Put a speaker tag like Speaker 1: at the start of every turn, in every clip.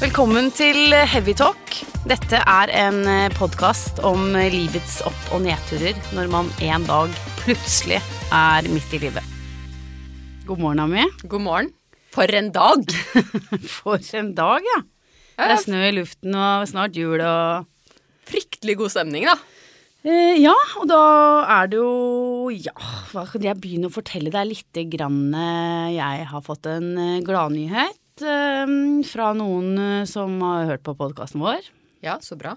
Speaker 1: Velkommen til Heavy Talk. Dette er en podkast om eh, livets opp- og nedturer når man en dag plutselig er midt i livet. God morgen, Ami.
Speaker 2: God morgen. For en dag!
Speaker 1: For en dag, ja. Det er snø i luften og snart jul og
Speaker 2: Fryktelig god stemning, da.
Speaker 1: Eh, Ja, og da er det jo Ja, hva kan jeg begynne å fortelle deg lite grann? eh, Jeg har fått en eh, gladnyhet eh, fra noen eh, som har hørt på podkasten vår.
Speaker 2: Ja, så bra.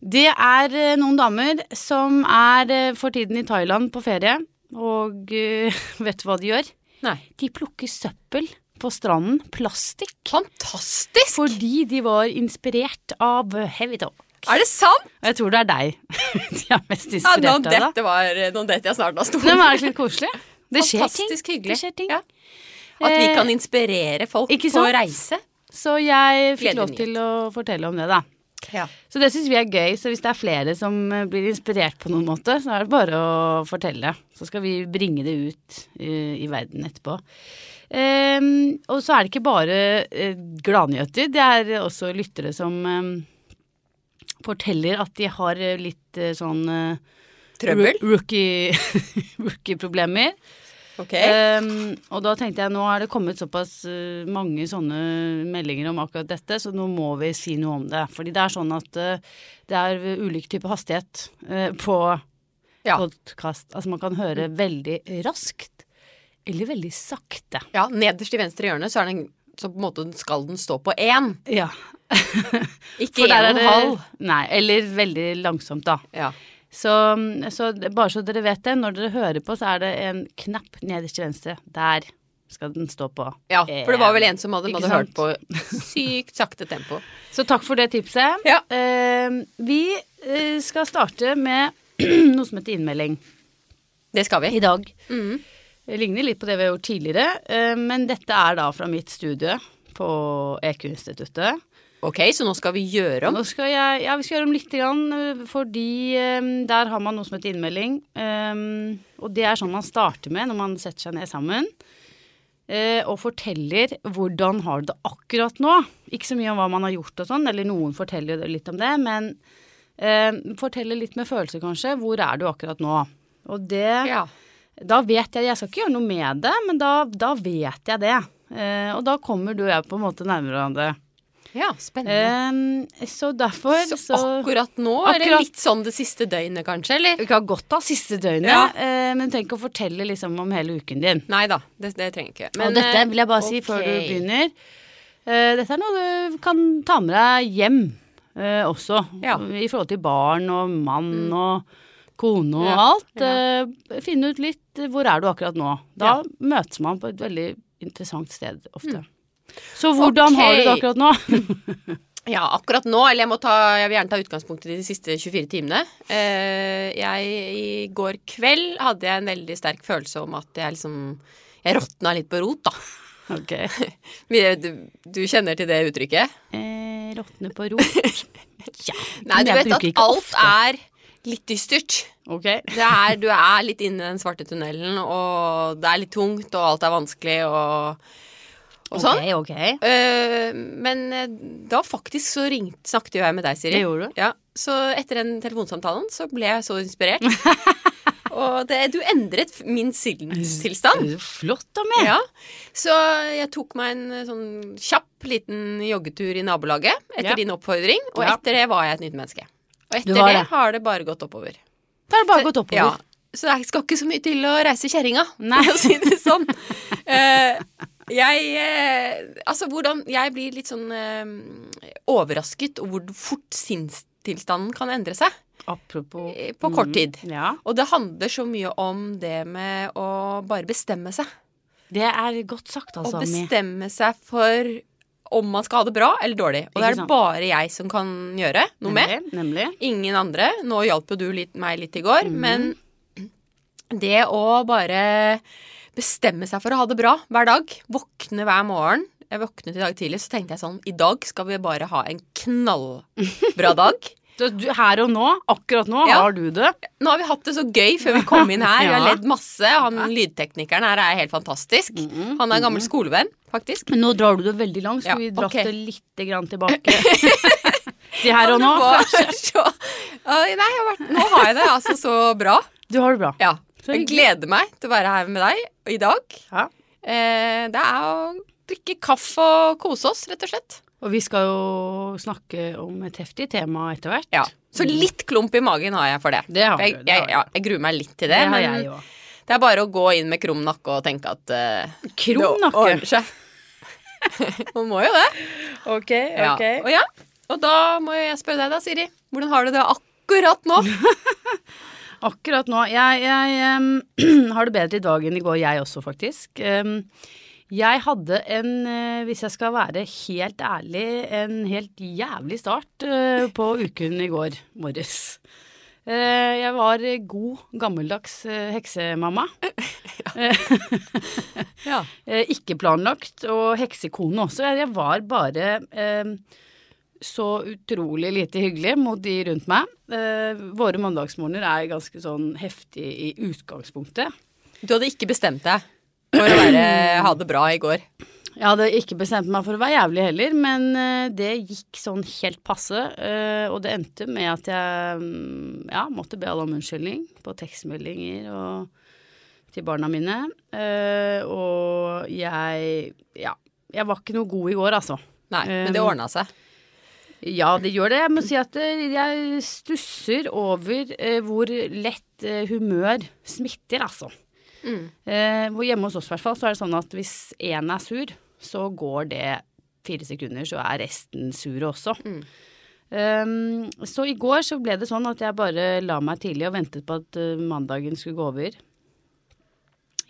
Speaker 1: Det er eh, noen damer som er eh, for tiden i Thailand på ferie, og eh, vet du hva de gjør?
Speaker 2: Nei.
Speaker 1: De plukker søppel på stranden, plastikk,
Speaker 2: Fantastisk!
Speaker 1: fordi de var inspirert av Heavy Top.
Speaker 2: Er det sant?
Speaker 1: Og jeg tror det er deg de er mest
Speaker 2: Ja, nå
Speaker 1: inspirert av. da.
Speaker 2: dette var Nå detter jeg snart
Speaker 1: Nei,
Speaker 2: av stolen.
Speaker 1: men er det ikke litt koselig? Det skjer ting.
Speaker 2: Fantastisk hyggelig.
Speaker 1: Det skjer ting.
Speaker 2: Ja. At vi
Speaker 1: Eh,
Speaker 2: kan inspirere folk
Speaker 1: ikke
Speaker 2: på
Speaker 1: sant?
Speaker 2: å reise.
Speaker 1: Så jeg fikk
Speaker 2: Gledelig
Speaker 1: lov
Speaker 2: nyhet.
Speaker 1: til å fortelle om det, da.
Speaker 2: Ja.
Speaker 1: Så det syns vi er gøy, så hvis det er flere som eh, blir inspirert på noen måte, så er det bare å fortelle. Så skal vi bringe det ut eh, i verden etterpå. Ehm, og så er det ikke bare uh, gladnyheter, det er også lyttere som eh, forteller at de har eh, litt eh, sånn eh,
Speaker 2: Trøbbel.
Speaker 1: ro- Rookie, rookie-problemer.
Speaker 2: Ok.
Speaker 1: Ehm, og da tenkte jeg nå er det kommet såpass eh, mange sånne meldinger om akkurat dette, så nå må vi si noe om det. Fordi det er sånn at eh, det er ulik type hastighet eh, på
Speaker 2: Ja. Mm.
Speaker 1: podkast. Altså man kan høre veldig raskt eller veldig sakte.
Speaker 2: ja, nederst i venstre hjørne så er den så på en måte skal den stå på én,
Speaker 1: Ja.
Speaker 2: ikke én og en halv.
Speaker 1: Nei, eller veldig langsomt, da.
Speaker 2: Ja.
Speaker 1: Så, så det- bare så dere vet det, når dere hører på, så er det en knapp nederst til venstre. Der skal den stå på. Eh,
Speaker 2: ja, for det var vel en som hadde,
Speaker 1: Ikke
Speaker 2: hadde hørt på sykt sakte tempo.
Speaker 1: Så takk for det tipset.
Speaker 2: Ja.
Speaker 1: Eh, vi eh, skal starte med noe som heter innmelding
Speaker 2: Det skal vi.
Speaker 1: i dag. Det ligner litt på det vi har gjort tidligere, eh, men dette er da fra mitt studie på E EQ-instituttet.
Speaker 2: Ok, så nå skal vi gjøre om.
Speaker 1: Nå skal jeg, ja, vi skal gjøre om lite grann, eh, fordi eh, der har man noe som heter innmelding. eh, og det er sånn man starter med når man setter seg ned sammen. eh, og forteller hvordan har du det akkurat nå. Ikke så mye om hva man har gjort og sånn, eller noen forteller jo litt om det, men eh, forteller litt med følelser kanskje. Hvor er du akkurat nå? Og det
Speaker 2: Ja.
Speaker 1: da vet jeg Jeg skal ikke gjøre noe med det, men da, da vet jeg det. Eh, og da kommer du og jeg på en måte nærmere hverandre.
Speaker 2: ja, spennende.
Speaker 1: Eh, så derfor
Speaker 2: Mm. Så
Speaker 1: så,
Speaker 2: akkurat nå, eller
Speaker 1: Akkurat-
Speaker 2: litt sånn det siste døgnet kanskje, eller?
Speaker 1: Vi kan godt ta siste døgnet,
Speaker 2: Ja.
Speaker 1: eh, men tenk å fortelle liksom om hele uken din.
Speaker 2: Nei da, det, det trenger jeg ikke. Men,
Speaker 1: og dette
Speaker 2: eh,
Speaker 1: vil jeg bare si før du
Speaker 2: ok.
Speaker 1: begynner. Eh, dette er noe du kan ta med deg hjem eh, også.
Speaker 2: Ja. Mm.
Speaker 1: I forhold til barn og mann og kone og
Speaker 2: Ja,
Speaker 1: alt. Eh, finne ut litt eh, hvor er du akkurat nå. Da
Speaker 2: Ja. Mm.
Speaker 1: møtes man på et veldig interessant sted ofte. Så hvordan har du det
Speaker 2: Ok.
Speaker 1: akkurat nå?
Speaker 2: Ja, akkurat nå, eller jeg, må ta, jeg vil gjerne ta utgangspunkt i de siste 24 timene. Eh, jeg, I går kveld hadde jeg en veldig sterk følelse om at jeg liksom Jeg råtna litt på rot, da.
Speaker 1: ok.
Speaker 2: Vi- Du, du kjenner til det uttrykket?
Speaker 1: Eh, Råtne på rot. ja.
Speaker 2: Nei,
Speaker 1: men
Speaker 2: du
Speaker 1: jeg
Speaker 2: vet
Speaker 1: bruker
Speaker 2: at
Speaker 1: ikke
Speaker 2: alt
Speaker 1: ofte.
Speaker 2: er litt dystert.
Speaker 1: Ok.
Speaker 2: Det er, du er litt inne i den svarte tunnelen, og det er litt tungt, og alt er vanskelig, og, og sånn.
Speaker 1: Ok, ok.
Speaker 2: Eh, men eh, da faktisk så ringte, snakket jo jeg med deg, Siri.
Speaker 1: Det gjorde du.
Speaker 2: Ja, Så etter den telefonsamtalen så ble jeg så inspirert. Og det, du endret min sinnstilstand.
Speaker 1: Mm. Flott, Ami.
Speaker 2: Ja. Så jeg tok meg en eh, sånn kjapp liten joggetur i nabolaget etter
Speaker 1: Ja.
Speaker 2: din oppfordring, og
Speaker 1: Ja.
Speaker 2: etter det var jeg et nytt menneske. Og
Speaker 1: Du
Speaker 2: etter
Speaker 1: var
Speaker 2: det
Speaker 1: det.
Speaker 2: har det bare gått oppover.
Speaker 1: Da har det bare gått oppover.
Speaker 2: Ja, så det skal ikke så mye til å reise kjerringa,
Speaker 1: Nei.
Speaker 2: for å si det sånn. Eh, jeg eh, Altså, hvordan Jeg blir litt sånn eh, overrasket over hvor fort sinnstilstanden kan endre seg
Speaker 1: Apropos Mm.
Speaker 2: eh, på kort tid.
Speaker 1: Ja.
Speaker 2: Og det handler så mye om det med å bare bestemme seg.
Speaker 1: Det er godt sagt,
Speaker 2: Å
Speaker 1: altså, Ami.
Speaker 2: bestemme seg for om man skal ha det bra eller dårlig. Og det
Speaker 1: Ikke
Speaker 2: er det
Speaker 1: sant.
Speaker 2: bare jeg som kan gjøre noe med.
Speaker 1: Nemlig, nemlig.
Speaker 2: Ingen andre. Nå hjalp jo du litt, meg litt i
Speaker 1: Mhm.
Speaker 2: går, men det å bare bestemme seg for å ha det bra hver dag, våkne hver morgen Jeg våknet i dag tidlig, så tenkte jeg sånn I dag skal vi bare ha en knallbra dag.
Speaker 1: Så du, her og nå, akkurat nå,
Speaker 2: Ja.
Speaker 1: har du det.
Speaker 2: Nå har vi hatt det så gøy før vi kom inn her. Vi har
Speaker 1: Ja.
Speaker 2: ledd masse. Han lydteknikeren her er helt fantastisk.
Speaker 1: Mhm,
Speaker 2: Han er en gammel skolevenn, faktisk.
Speaker 1: Men nå drar du det veldig langt.
Speaker 2: Ja,
Speaker 1: Skulle vi dratt
Speaker 2: ok.
Speaker 1: det lite grann tilbake? Til her og nå?
Speaker 2: Det var så, Oi, nei, jeg har vært, nå har jeg det altså så bra.
Speaker 1: Du har det bra.
Speaker 2: Ja.
Speaker 1: Så
Speaker 2: Jeg gleder meg til å være her med deg i dag.
Speaker 1: Ja.
Speaker 2: Eh, det er å drikke kaffe og kose oss, rett og slett.
Speaker 1: Og vi skal jo snakke om et heftig tema etter hvert.
Speaker 2: Ja. Så litt klump i magen har jeg for det.
Speaker 1: Det har
Speaker 2: For jeg,
Speaker 1: du, det har
Speaker 2: jeg,
Speaker 1: du.
Speaker 2: ja, jeg gruer meg litt til det.
Speaker 1: Det har
Speaker 2: men
Speaker 1: jeg òg.
Speaker 2: det er bare å gå inn med krum nakke og tenke at eh,
Speaker 1: Krum
Speaker 2: det
Speaker 1: nakke.
Speaker 2: ordner seg. Man må jo det.
Speaker 1: Ok,
Speaker 2: Ja. Og, ja. og da må jo jeg spørre deg da, Siri. Hvordan har du det akkurat nå?
Speaker 1: Akkurat nå Jeg, jeg em, har det bedre i dag enn i går, jeg også, faktisk. Em, jeg hadde en, eh, hvis jeg skal være helt ærlig, en helt jævlig start eh, på uken i går morges. Eh, jeg var god, gammeldags eh, heksemamma.
Speaker 2: Ja.
Speaker 1: Eh, ikke planlagt, og heksekone også. Jeg, jeg var bare eh, så utrolig lite hyggelig mot de rundt meg. Eh, våre mandagsmorgener er ganske sånn heftig i utgangspunktet.
Speaker 2: Du hadde ikke bestemt deg for å være, ha det bra i går.
Speaker 1: Jeg hadde ikke bestemt meg for å være jævlig heller, men eh, det gikk sånn helt passe. eh, og det endte med at jeg mm, ja, måtte be alle om unnskyldning på tekstmeldinger og til barna mine. eh, og jeg ja, jeg var ikke noe god i går, altså.
Speaker 2: Nei, men det
Speaker 1: Um,
Speaker 2: ordna seg.
Speaker 1: Ja, det gjør det. Jeg må si at eh, jeg stusser over eh, hvor lett eh, humør smitter, altså.
Speaker 2: Mm.
Speaker 1: Eh, hvor hjemme hos oss i hvert fall, så er det sånn at hvis én er sur, så går det fire sekunder, så er resten sure også.
Speaker 2: Mm.
Speaker 1: Um, så i går så ble det sånn at jeg bare la meg tidlig og ventet på at eh, mandagen skulle gå over.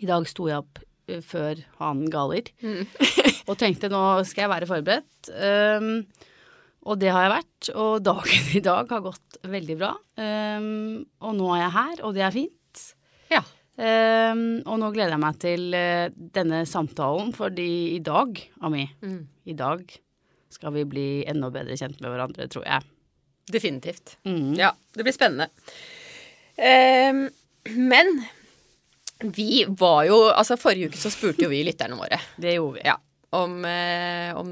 Speaker 1: I dag sto jeg opp eh, før hanen galer
Speaker 2: Mm.
Speaker 1: og tenkte nå skal jeg være forberedt. Um, og det har jeg vært, og dagen i dag har gått veldig bra. Um, og nå er jeg her, og det er fint.
Speaker 2: Ja.
Speaker 1: Um, og nå gleder jeg meg til eh, denne samtalen, fordi i dag, Ami,
Speaker 2: Mm.
Speaker 1: i dag skal vi bli enda bedre kjent med hverandre, tror jeg.
Speaker 2: Definitivt.
Speaker 1: Mm.
Speaker 2: Ja, det blir spennende. Ehm, men vi var jo Altså, forrige uke så spurte jo vi lytterne våre
Speaker 1: Det gjorde vi.
Speaker 2: ja, om, eh, om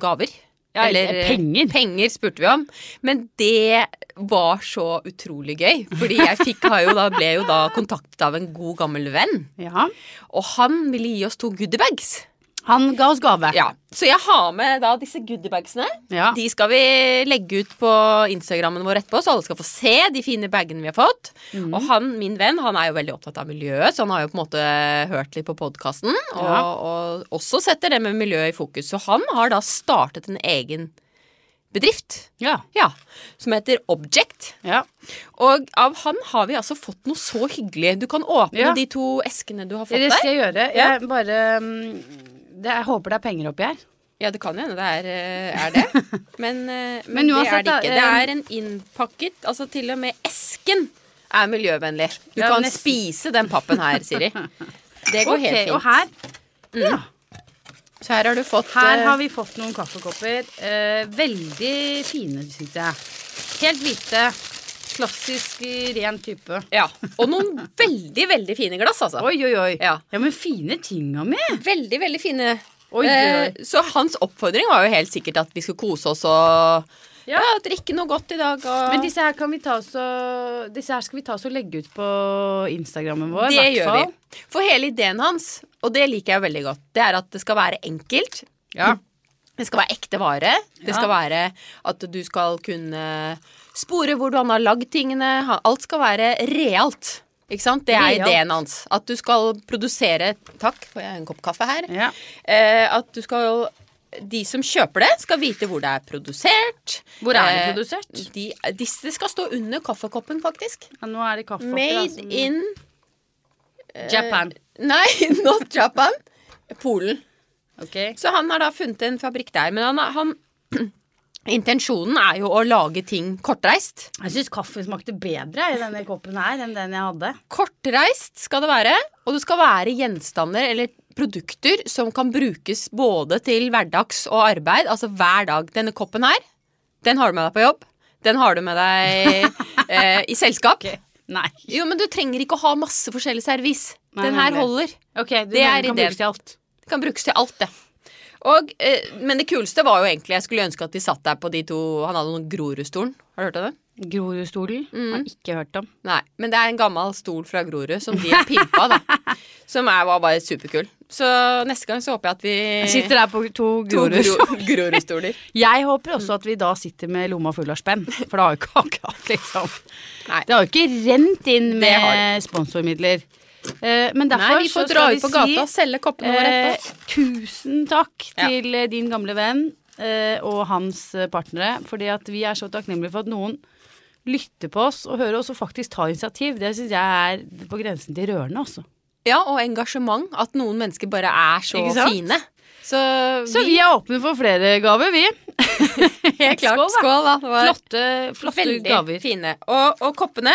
Speaker 2: gaver. eh,
Speaker 1: Ja, eller penger.
Speaker 2: Penger spurte vi om. Men det var så utrolig gøy. Fordi jeg fikk, har jo da, ble jo da kontaktet av en god, gammel venn.
Speaker 1: Ja.
Speaker 2: Og han ville gi oss to goodiebags.
Speaker 1: Han ga oss gave.
Speaker 2: Ja, så jeg har med da disse goodiebagsene.
Speaker 1: Ja.
Speaker 2: De skal vi legge ut på Instagrammen vår etterpå, så alle skal få se de fine bagene vi har fått.
Speaker 1: Mm.
Speaker 2: Og han, min venn, han er jo veldig opptatt av miljøet, så han har jo på en måte hørt litt på podkasten. Og,
Speaker 1: Ja.
Speaker 2: og også setter det med miljøet i fokus. Så han har da startet en egen bedrift.
Speaker 1: Ja.
Speaker 2: Ja, som heter Object.
Speaker 1: ja.
Speaker 2: Og av han har vi altså fått noe så hyggelig. Du kan åpne
Speaker 1: Ja.
Speaker 2: de to eskene du har fått
Speaker 1: Det
Speaker 2: der.
Speaker 1: skal jeg gjøre.
Speaker 2: Ja.
Speaker 1: Jeg bare mm, det, Jeg håper det er penger oppi her.
Speaker 2: Ja, det kan jo hende det er, eh, er det. Men, eh, men,
Speaker 1: Men uansett,
Speaker 2: det
Speaker 1: da, eh,
Speaker 2: er det ikke. Det er en innpakket Altså til og med esken er miljøvennlig. Du
Speaker 1: Ja,
Speaker 2: kan
Speaker 1: nesten.
Speaker 2: spise den pappen her, Siri. Det går helt
Speaker 1: Ok,
Speaker 2: fint.
Speaker 1: Og her
Speaker 2: så her har du fått
Speaker 1: Her
Speaker 2: eh,
Speaker 1: har vi fått noen kaffekopper. Eh, veldig fine, syns jeg. Helt hvite. Klassisk eh, ren type.
Speaker 2: Ja. Og noen veldig, veldig fine glass, altså.
Speaker 1: Oi, oi, oi.
Speaker 2: Ja.
Speaker 1: ja men fine tinga mi.
Speaker 2: Veldig, veldig fine.
Speaker 1: Oi, oi, oi.
Speaker 2: Eh, så hans oppfordring var jo helt sikkert at vi skulle kose oss og
Speaker 1: Ja.
Speaker 2: ja. drikke noe godt i dag. Og...
Speaker 1: Men disse her, kan vi ta oss og, disse her skal vi ta oss og legge ut på Instagrammen vår.
Speaker 2: Det
Speaker 1: i hvert
Speaker 2: gjør
Speaker 1: fall.
Speaker 2: vi. For hele ideen hans, og det liker jeg veldig godt, det er at det skal være enkelt.
Speaker 1: Ja.
Speaker 2: Det skal være ekte vare. Det
Speaker 1: Ja.
Speaker 2: skal være at du skal kunne spore hvor han har lagd tingene. Ha- Alt skal være realt. Ikke sant? Det er
Speaker 1: Realt.
Speaker 2: ideen hans. At du skal produsere Takk, får jeg en kopp kaffe her.
Speaker 1: Ja.
Speaker 2: Eh, at du skal De som kjøper det, skal vite hvor det er produsert.
Speaker 1: Hvor er det
Speaker 2: Eh,
Speaker 1: produsert?
Speaker 2: De, disse skal stå under kaffekoppen, faktisk.
Speaker 1: Ja, nå er det altså. kaffekopper. da,
Speaker 2: Made
Speaker 1: som-
Speaker 2: in eh,
Speaker 1: Japan.
Speaker 2: Nei, not Japan. Polen.
Speaker 1: Ok.
Speaker 2: Så han har da funnet en fabrikk der. Men han, har- han Intensjonen er jo å lage ting kortreist.
Speaker 1: Jeg syns kaffe smakte bedre i denne koppen her enn den jeg hadde.
Speaker 2: Kortreist skal det være, og det skal være gjenstander eller produkter som kan brukes både til hverdags og arbeid, altså hver dag. Denne koppen her, den har du med deg på jobb. Den har du med deg eh, i selskap.
Speaker 1: Nei.
Speaker 2: Jo, men du trenger ikke å ha masse forskjellig servis.
Speaker 1: Nei,
Speaker 2: Den her
Speaker 1: nemlig.
Speaker 2: holder.
Speaker 1: Ok, du
Speaker 2: Det
Speaker 1: mener
Speaker 2: er
Speaker 1: den kan
Speaker 2: ideen.
Speaker 1: brukes til alt.
Speaker 2: Kan brukes til alt, det. Og, eh, men det kuleste var jo egentlig Jeg skulle ønske at vi satt der på de to Han hadde noen Grorudstolen. Har du hørt om den?
Speaker 1: Grorudstolen har ikke hørt om.
Speaker 2: Nei. Men det er en gammel stol fra Grorud som de har pimpa, da. Som er, var bare superkul. Så neste gang så håper jeg at vi
Speaker 1: Jeg sitter her på to
Speaker 2: to
Speaker 1: grorudstoler.
Speaker 2: Gro- Grorudstoler.
Speaker 1: Jeg håper også at vi da sitter med lomma full av spenn, for det har jo ikke akkurat liksom
Speaker 2: Nei.
Speaker 1: Det har jo ikke rent inn
Speaker 2: Det har
Speaker 1: med sponsormidler. Eh, men derfor
Speaker 2: Nei, vi får
Speaker 1: så
Speaker 2: dra
Speaker 1: skal vi
Speaker 2: ut på gata og
Speaker 1: si
Speaker 2: selge koppene våre
Speaker 1: eh,
Speaker 2: etterpå.
Speaker 1: tusen takk
Speaker 2: Ja.
Speaker 1: til eh, din gamle venn eh, og hans eh, partnere. Fordi at vi er så takknemlige for at noen lytter på oss og hører oss og faktisk tar initiativ. Det syns jeg er på grensen til rørende, altså.
Speaker 2: Ja, og engasjement. At noen mennesker bare er så
Speaker 1: Ikke sant?
Speaker 2: fine. Så,
Speaker 1: Så vi er åpne for flere gaver, vi.
Speaker 2: helt klart.
Speaker 1: Skål, da.
Speaker 2: Skål, da. Det var
Speaker 1: Flotte, flotte
Speaker 2: Veldig
Speaker 1: gaver.
Speaker 2: fine. Og, og koppene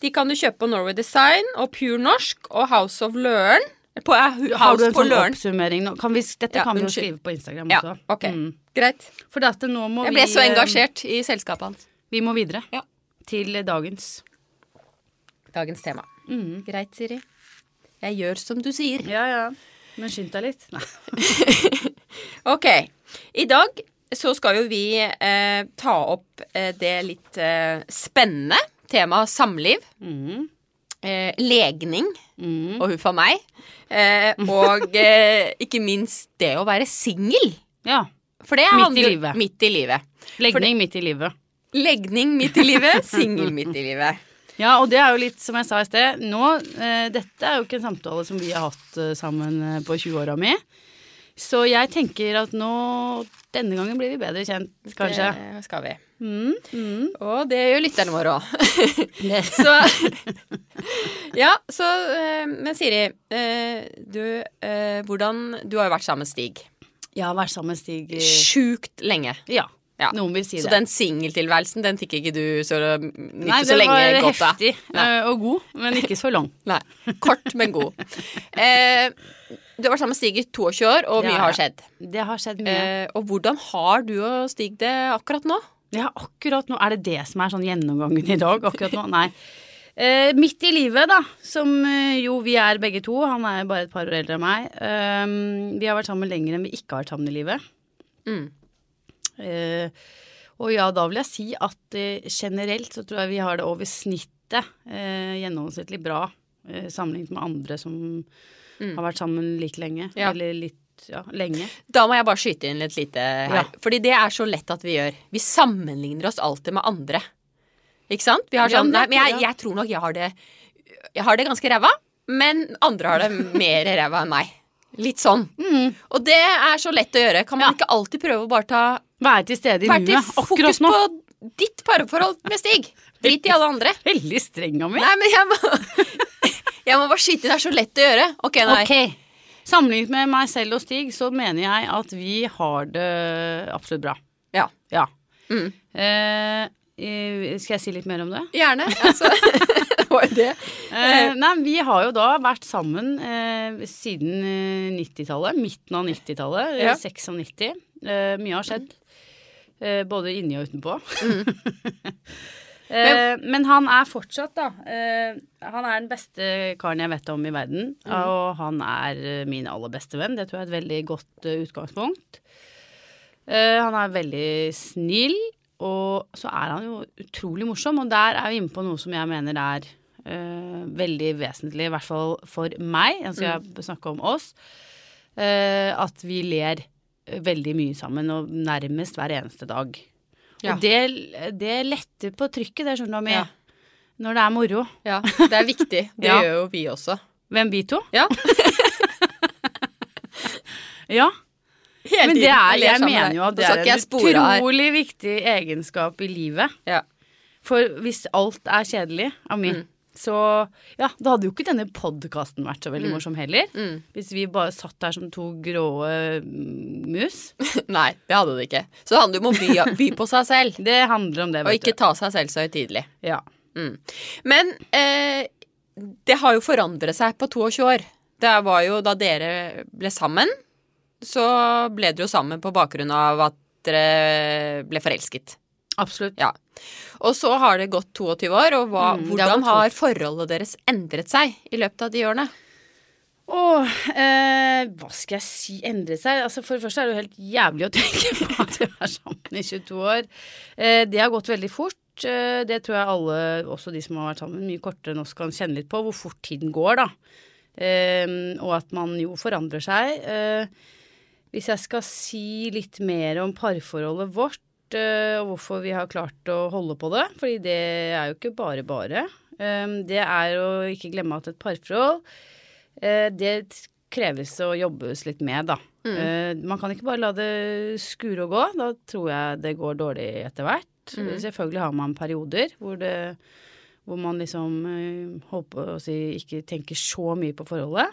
Speaker 2: de kan du kjøpe på Norway Design og Pure Norsk og House of Løren. På, eh, Hu-
Speaker 1: Har du
Speaker 2: House
Speaker 1: en
Speaker 2: på
Speaker 1: sånn
Speaker 2: Løren.
Speaker 1: oppsummering nå? Kan vi, dette
Speaker 2: Ja,
Speaker 1: kan vi jo
Speaker 2: unnskyld.
Speaker 1: skrive på Instagram
Speaker 2: Ja,
Speaker 1: også.
Speaker 2: ok.
Speaker 1: Mm.
Speaker 2: Greit.
Speaker 1: For dette, nå må
Speaker 2: Jeg ble
Speaker 1: vi,
Speaker 2: så
Speaker 1: eh,
Speaker 2: engasjert i selskapet hans.
Speaker 1: Vi må videre
Speaker 2: Ja.
Speaker 1: til dagens.
Speaker 2: Dagens tema.
Speaker 1: Mm.
Speaker 2: Greit, Siri. Jeg gjør som du sier.
Speaker 1: Ja, ja. Men skynd deg litt. Nei.
Speaker 2: Ok. I dag så skal jo vi eh, ta opp eh, det litt eh, spennende temaet samliv.
Speaker 1: Mm,
Speaker 2: Eh, legning og huff a meg. Eh, og eh, ikke minst det å være singel.
Speaker 1: Ja.
Speaker 2: For det
Speaker 1: Midt i
Speaker 2: handler
Speaker 1: livet.
Speaker 2: midt i livet.
Speaker 1: Legning midt i livet.
Speaker 2: Legning midt i livet, singel midt i livet.
Speaker 1: Ja, og det er jo litt som jeg sa i sted. Nå, eh, dette er jo ikke en samtale som vi har hatt eh, sammen eh, på 20-åra mi. Så jeg tenker at nå Denne gangen blir vi bedre kjent, kanskje.
Speaker 2: Det skal vi.
Speaker 1: Mm, mm.
Speaker 2: Og det gjør lytterne våre òg. så Ja, så eh, Men Siri, eh, du, eh, hvordan, du har jo vært sammen med Stig.
Speaker 1: Jeg har vært sammen med Stig i
Speaker 2: Sjukt lenge.
Speaker 1: Ja.
Speaker 2: Ja.
Speaker 1: Noen vil si
Speaker 2: Så
Speaker 1: det.
Speaker 2: den singeltilværelsen, den fikk ikke du så nytte
Speaker 1: Nei,
Speaker 2: så
Speaker 1: den
Speaker 2: lenge
Speaker 1: var
Speaker 2: godt av.
Speaker 1: heftig
Speaker 2: Nei.
Speaker 1: eh, og god, men ikke så lang.
Speaker 2: Nei. Kort, men god. Eh, du har vært sammen med Stig i 22 år, og mye
Speaker 1: Ja,
Speaker 2: har
Speaker 1: ja.
Speaker 2: skjedd.
Speaker 1: Det har skjedd mye.
Speaker 2: Eh, og hvordan har du og Stig det akkurat nå?
Speaker 1: Ja, akkurat nå. Er det det som er sånn gjennomgangen i dag? Akkurat nå? Nei. Eh, midt i livet, da, som eh, jo vi er begge to. Han er bare et par år eldre enn meg. Eh, vi har vært sammen lenger enn vi ikke har vært sammen i livet.
Speaker 2: Mm.
Speaker 1: Eh, og ja, da vil jeg si at eh, generelt så tror jeg vi har det over snittet eh, gjennomsnittlig bra eh, sammenlignet med andre som
Speaker 2: Mm.
Speaker 1: har vært sammen like lenge.
Speaker 2: Ja.
Speaker 1: Eller litt, ja, lenge.
Speaker 2: Da må jeg bare skyte inn litt lite her.
Speaker 1: Ja.
Speaker 2: Fordi det er så lett at vi gjør. Vi sammenligner oss alltid med andre. Ikke sant? Vi har
Speaker 1: Ja,
Speaker 2: sånn, nei, men jeg,
Speaker 1: ja.
Speaker 2: jeg tror nok jeg har det Jeg har det ganske ræva, men andre har det mer ræva enn meg. Litt sånn. Og det er så lett å gjøre. Kan man ikke alltid prøve å bare ta
Speaker 1: Være til stede i
Speaker 2: Vært i
Speaker 1: nuet
Speaker 2: fokus
Speaker 1: akkurat nå.
Speaker 2: på ditt parforhold med Stig? Drit i alle andre.
Speaker 1: Veldig streng av meg.
Speaker 2: Nei, men jeg må, jeg må bare skyte inn. Det er så lett å gjøre. Ok, nei.
Speaker 1: Ok. Sammenlignet med meg selv og Stig, så mener jeg at vi har det absolutt bra.
Speaker 2: Ja.
Speaker 1: Ja.
Speaker 2: Mm.
Speaker 1: Eh, eh, skal jeg si litt mer om det?
Speaker 2: Gjerne. Altså. det var jo det.
Speaker 1: Eh, nei, vi har jo da vært sammen eh, siden eh, 90-tallet. Midten av 90-tallet. eh,
Speaker 2: Ja.
Speaker 1: 96. Eh, mye har skjedd. Eh, både inni og utenpå. eh, men han er fortsatt, da eh, Han er den beste karen jeg vet om i verden. Og han er eh, min aller beste venn. Det tror jeg er et veldig godt eh, utgangspunkt. Eh, han er veldig snill, og så er han jo utrolig morsom. Og der er vi inne på noe som jeg mener er eh, veldig vesentlig, i hvert fall for meg. Altså jeg snakker om oss. eh, at vi ler veldig mye sammen, og nærmest hver eneste dag.
Speaker 2: Ja.
Speaker 1: Og det, det letter på trykket, det skjønner du, Ami.
Speaker 2: Ja.
Speaker 1: Når det er moro.
Speaker 2: Ja, det er viktig. Det
Speaker 1: Ja.
Speaker 2: gjør jo vi også.
Speaker 1: Hvem vi to?
Speaker 2: Ja.
Speaker 1: Ja. Men det er, jeg mener jo at det er en
Speaker 2: utrolig
Speaker 1: utrolig viktig egenskap i livet.
Speaker 2: ja.
Speaker 1: For hvis alt er kjedelig, Ami,
Speaker 2: Mm.
Speaker 1: så Ja, da hadde jo ikke denne podkasten vært så veldig morsom heller.
Speaker 2: Mm.
Speaker 1: Hvis vi bare satt der som to grå eh, mus.
Speaker 2: Nei, det hadde det ikke. Så det handler jo om å by, by på seg selv,
Speaker 1: Det handler om det,
Speaker 2: og
Speaker 1: vet
Speaker 2: ikke ta seg selv så høytidelig.
Speaker 1: du. Ja.
Speaker 2: Mm. Men eh, det har jo forandret seg på 22 år. Det var jo da dere ble sammen, så ble dere jo sammen på bakgrunn av at dere ble forelsket.
Speaker 1: Absolutt.
Speaker 2: Ja. Og så har det gått 22 år, og hva,
Speaker 1: Mm, det har
Speaker 2: hvordan
Speaker 1: gått
Speaker 2: har forholdet deres endret seg i løpet av de årene?
Speaker 1: Åh, eh, hva skal jeg si endret seg? Altså, for det første er det jo helt jævlig å tenke på at vi er sammen i 22 år. Eh, det har gått veldig fort. Eh, det tror jeg alle, også de som har vært sammen mye kortere enn oss, kan kjenne litt på. Hvor fort tiden går, da. Eh, og at man jo forandrer seg. Eh, hvis jeg skal si litt mer om parforholdet vårt eh, og hvorfor vi har klart å holde på det, fordi det er jo ikke bare bare. Eh, det er å ikke glemme at et parforhold Eh, det t- kreves å jobbes litt med, da. Eh, man kan ikke bare la det skure og gå. Da tror jeg det går dårlig etter hvert. Selvfølgelig har man perioder hvor, det, hvor man liksom eh, håper å si ikke tenker så mye på forholdet.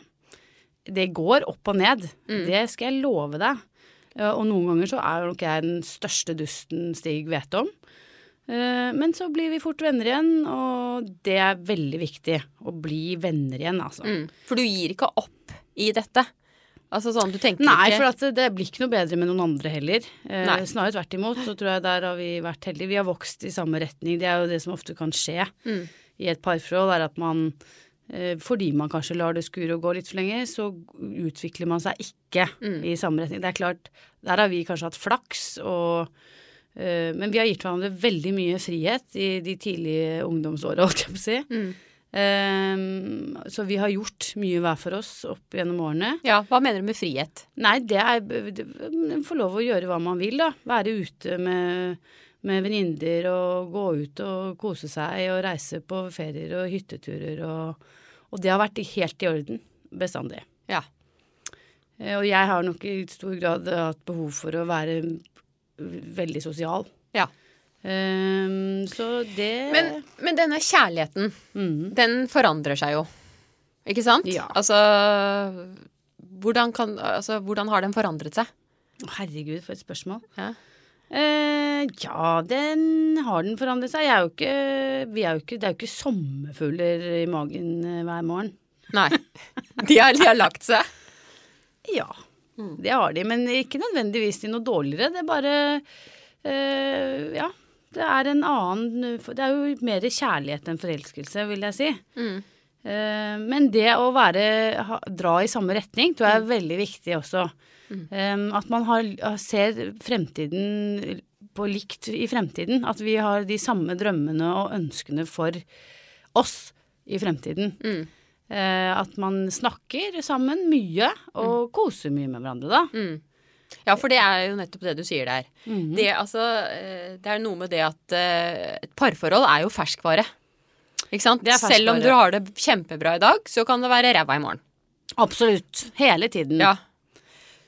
Speaker 1: Det går opp og ned.
Speaker 2: Mm.
Speaker 1: Det skal jeg love deg. Eh, og noen ganger så er nok jeg den største dusten Stig vet om. Eh, Men så blir vi fort venner igjen, og det er veldig viktig. Å bli venner igjen, altså.
Speaker 2: Mm. For du gir ikke opp i dette. Altså sånn, du tenker
Speaker 1: Nei,
Speaker 2: ikke
Speaker 1: for at det blir ikke noe bedre med noen andre heller. Eh,
Speaker 2: Nei.
Speaker 1: snarere tvert imot. Så tror jeg der har vi vært heldige. Vi har vokst i samme retning. Det er jo det som ofte kan skje
Speaker 2: Mm.
Speaker 1: i et parforhold, er at man eh, fordi man kanskje lar det skure og gå litt for lenge, så utvikler man seg ikke
Speaker 2: Mm.
Speaker 1: i samme retning. Det er klart, der har vi kanskje hatt flaks og eh, Men vi har gitt hverandre veldig mye frihet i de tidlige ungdomsåra, holdt jeg på å si.
Speaker 2: Mm.
Speaker 1: Eh, så vi har gjort mye hver for oss opp gjennom årene.
Speaker 2: Ja, hva mener du med frihet?
Speaker 1: Nei, det er det- Få lov å gjøre hva man vil, da. Være ute med, med venninner og gå ut og kose seg og reise på ferier og hytteturer og Og det har vært helt i orden. Bestandig.
Speaker 2: Ja.
Speaker 1: Eh, Og jeg har nok i stor grad hatt behov for å være veldig sosial.
Speaker 2: Ja.
Speaker 1: Ehm, så det
Speaker 2: Men, men denne kjærligheten,
Speaker 1: Mhm.
Speaker 2: den forandrer seg jo. Ikke sant?
Speaker 1: Ja.
Speaker 2: Altså, hvordan, kan, altså, hvordan har den forandret seg?
Speaker 1: Herregud, for et spørsmål.
Speaker 2: Ja.
Speaker 1: Eh, ja, den har den forandret seg. Jeg er jo ikke, vi er jo ikke, det er jo ikke sommerfugler i magen eh, hver morgen.
Speaker 2: Nei. De har, de har lagt seg.
Speaker 1: Ja, det har de. Men ikke nødvendigvis de noe dårligere. Det er bare eh, Ja. Det er en annen Det er jo mer kjærlighet enn forelskelse, vil jeg si.
Speaker 2: Mm.
Speaker 1: Eh, Men det å være, ha, dra i samme retning tror jeg er veldig viktig også. Eh, At man har, ser fremtiden på likt i fremtiden. At vi har de samme drømmene og ønskene for oss i fremtiden.
Speaker 2: Mm.
Speaker 1: Eh, At man snakker sammen mye og koser mye med hverandre, da.
Speaker 2: Mm. Ja, for det er jo nettopp det du sier der.
Speaker 1: Mhm.
Speaker 2: Det, altså, eh, det er noe med det at eh, et parforhold er jo ferskvare. Ikke sant?
Speaker 1: Det er ferskvare.
Speaker 2: Selv om du har det kjempebra i dag, så kan det være ræva i morgen.
Speaker 1: Absolutt. Hele tiden.
Speaker 2: Ja.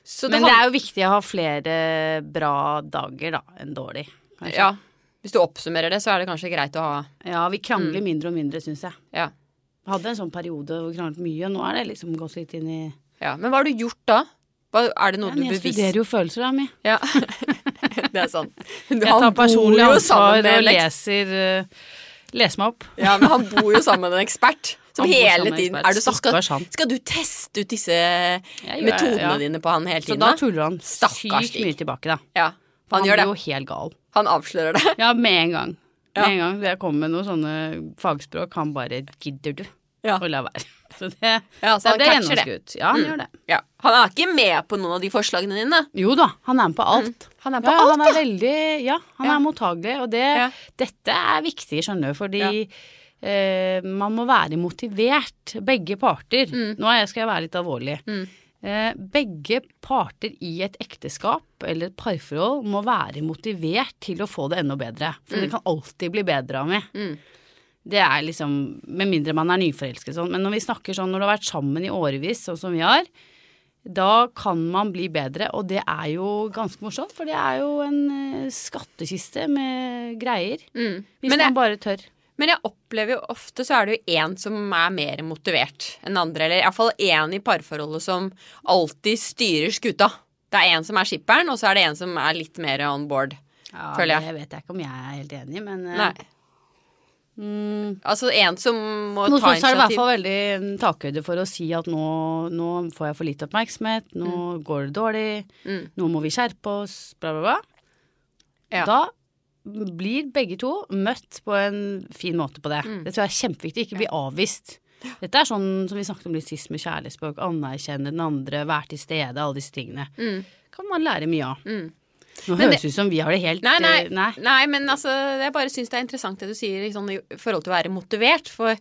Speaker 2: Så
Speaker 1: Men det
Speaker 2: hand-
Speaker 1: er jo viktig å ha flere bra dager da, enn dårlig. kanskje.
Speaker 2: ja. Hvis du oppsummerer det, så er det kanskje greit å ha
Speaker 1: ja, vi
Speaker 2: Mm.
Speaker 1: krangler mindre og mindre, syns jeg.
Speaker 2: Ja.
Speaker 1: Jeg hadde en sånn periode hvor vi kranglet mye, og nå er det liksom gått litt inn i
Speaker 2: ja. Men hva har du gjort da? Hva, er det noe
Speaker 1: ja,
Speaker 2: du
Speaker 1: men Jeg
Speaker 2: bevisst
Speaker 1: studerer jo følelser, da, mi.
Speaker 2: Ja. det er sant. Han
Speaker 1: Jeg tar
Speaker 2: bor
Speaker 1: personlig
Speaker 2: jo
Speaker 1: ansvar
Speaker 2: sammen
Speaker 1: og
Speaker 2: med en eks-
Speaker 1: leser eh, Leser meg opp.
Speaker 2: Ja, men han bor jo sammen med en ekspert. Som
Speaker 1: Han bor sammen
Speaker 2: hele
Speaker 1: med en
Speaker 2: tiden
Speaker 1: ekspert.
Speaker 2: er du så-
Speaker 1: Stakkars
Speaker 2: skal,
Speaker 1: han.
Speaker 2: skal du teste ut disse
Speaker 1: gjør-
Speaker 2: metodene
Speaker 1: ja.
Speaker 2: dine på han hele
Speaker 1: Så
Speaker 2: tiden?
Speaker 1: da
Speaker 2: da?
Speaker 1: tuller han
Speaker 2: Stakkars
Speaker 1: sykt mye tilbake, da.
Speaker 2: Ja, han, gjør det.
Speaker 1: blir jo helt gal.
Speaker 2: Han avslører det.
Speaker 1: Ja, med en gang. Med
Speaker 2: Ja.
Speaker 1: en gang jeg kommer med noen sånne fagspråk, han bare 'gidder du?'
Speaker 2: Ja.
Speaker 1: og la være. Så det,
Speaker 2: Ja, så
Speaker 1: det
Speaker 2: han
Speaker 1: ble
Speaker 2: catcher det. Mm.
Speaker 1: gjennomskuet. Ja, han gjør det.
Speaker 2: Ja. Han er ikke med på noen av de forslagene dine.
Speaker 1: Jo da, han er med på alt.
Speaker 2: Han er på
Speaker 1: Ja,
Speaker 2: alt,
Speaker 1: han er veldig Ja, han
Speaker 2: Ja.
Speaker 1: er mottagelig, og det,
Speaker 2: Ja.
Speaker 1: dette er viktig, skjønner du, fordi eh, man må være motivert, begge parter.
Speaker 2: Mm.
Speaker 1: Nå er jeg- skal jeg være litt alvorlig. Eh, begge parter i et ekteskap eller et parforhold må være motivert til å få det enda bedre. For
Speaker 2: Mm.
Speaker 1: det kan alltid bli bedre av meg. Det er liksom Med mindre man er nyforelsket sånn. Men når vi snakker sånn når du har vært sammen i årevis, sånn som vi har, da kan man bli bedre, og det er jo ganske morsomt, for det er jo en eh, skattkiste med greier.
Speaker 2: Mm.
Speaker 1: Hvis
Speaker 2: Men det-
Speaker 1: man bare tør.
Speaker 2: Men jeg opplever jo ofte så er det jo én som er mer motivert enn andre. Eller iallfall én i parforholdet som alltid styrer skuta. Det er én som er skipperen, og så er det én som er litt mer on board.
Speaker 1: Ja,
Speaker 2: Føler jeg.
Speaker 1: Det vet jeg ikke om jeg er helt enig i, men eh,
Speaker 2: Nei.
Speaker 1: mm,
Speaker 2: Altså en som må
Speaker 1: Hos
Speaker 2: ta
Speaker 1: oss er det i hvert
Speaker 2: initiativ.
Speaker 1: fall veldig en takhøyde for å si at nå, nå får jeg for lite oppmerksomhet, nå går det dårlig,
Speaker 2: Mm.
Speaker 1: nå må vi skjerpe oss, bla, bla, bla.
Speaker 2: Ja.
Speaker 1: Da blir begge to møtt på en fin måte på det.
Speaker 2: Mm.
Speaker 1: Det tror jeg er kjempeviktig. Ikke bli avvist. Dette er sånn som vi snakket om litt sist med kjærlighetsspråk. Anerkjenne den andre, være til stede, alle disse tingene. Kan man lære mye av. Nå
Speaker 2: Mm. Men
Speaker 1: høres det ut som vi har det helt
Speaker 2: Nei, nei,
Speaker 1: eh, nei.
Speaker 2: nei, men altså, jeg bare syns det er interessant det du sier liksom, i forhold til å være motivert. For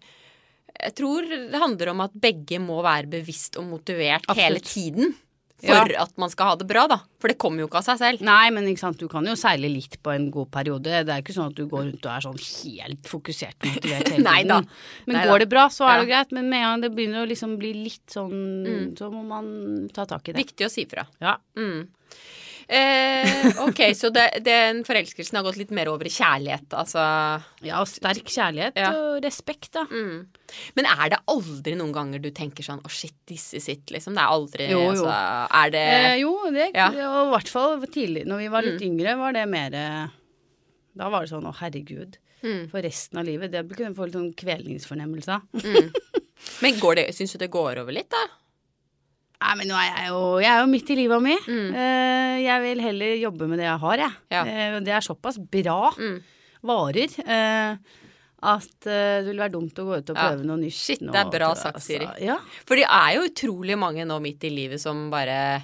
Speaker 2: jeg tror det handler om at begge må være bevisst og motivert hele
Speaker 1: Absolutt.
Speaker 2: tiden. For at man skal ha det bra, da. For det kommer jo ikke av seg selv.
Speaker 1: Nei, men ikke sant? du kan jo seile litt på en god periode. Det er ikke sånn at du går rundt og er sånn helt fokusert og motivert hele
Speaker 2: Nei da.
Speaker 1: tiden. Men
Speaker 2: Nei da.
Speaker 1: går det bra, så er det greit. Men med en gang det begynner å liksom bli litt sånn, så må man ta tak i det.
Speaker 2: Mm. Viktig å si fra.
Speaker 1: Ja.
Speaker 2: Mm. Eh, ok, så det, den forelskelsen har gått litt mer over i kjærlighet, altså.
Speaker 1: ja, og sterk kjærlighet
Speaker 2: Ja.
Speaker 1: og respekt, da.
Speaker 2: Mm. Men er det aldri noen ganger du tenker sånn 'å, shit, disse sitt', liksom? Det er aldri
Speaker 1: Jo, jo.
Speaker 2: Altså, er det
Speaker 1: Eh, jo, det,
Speaker 2: ja. Mm.
Speaker 1: og i hvert fall tidlig. Når vi var litt yngre, var det mer eh, Da var det sånn å, herregud.
Speaker 2: Mm.
Speaker 1: For resten av livet. Det kunne få litt sånn kvelningsfornemmelse av.
Speaker 2: Men går det, syns du det går over litt, da?
Speaker 1: Nei, men nå er jeg jo, jeg er jo midt i livet mitt. Eh, jeg vil heller jobbe med det jeg har, jeg.
Speaker 2: Mm. Ja.
Speaker 1: Eh, og det er såpass bra
Speaker 2: Mm.
Speaker 1: varer eh, at eh, det ville være dumt å gå ut og
Speaker 2: Ja.
Speaker 1: prøve noe nytt.
Speaker 2: Shit,
Speaker 1: nå,
Speaker 2: det er bra
Speaker 1: tror jeg,
Speaker 2: sagt, Siri.
Speaker 1: altså. Ja.
Speaker 2: For det er jo utrolig mange nå midt i livet som bare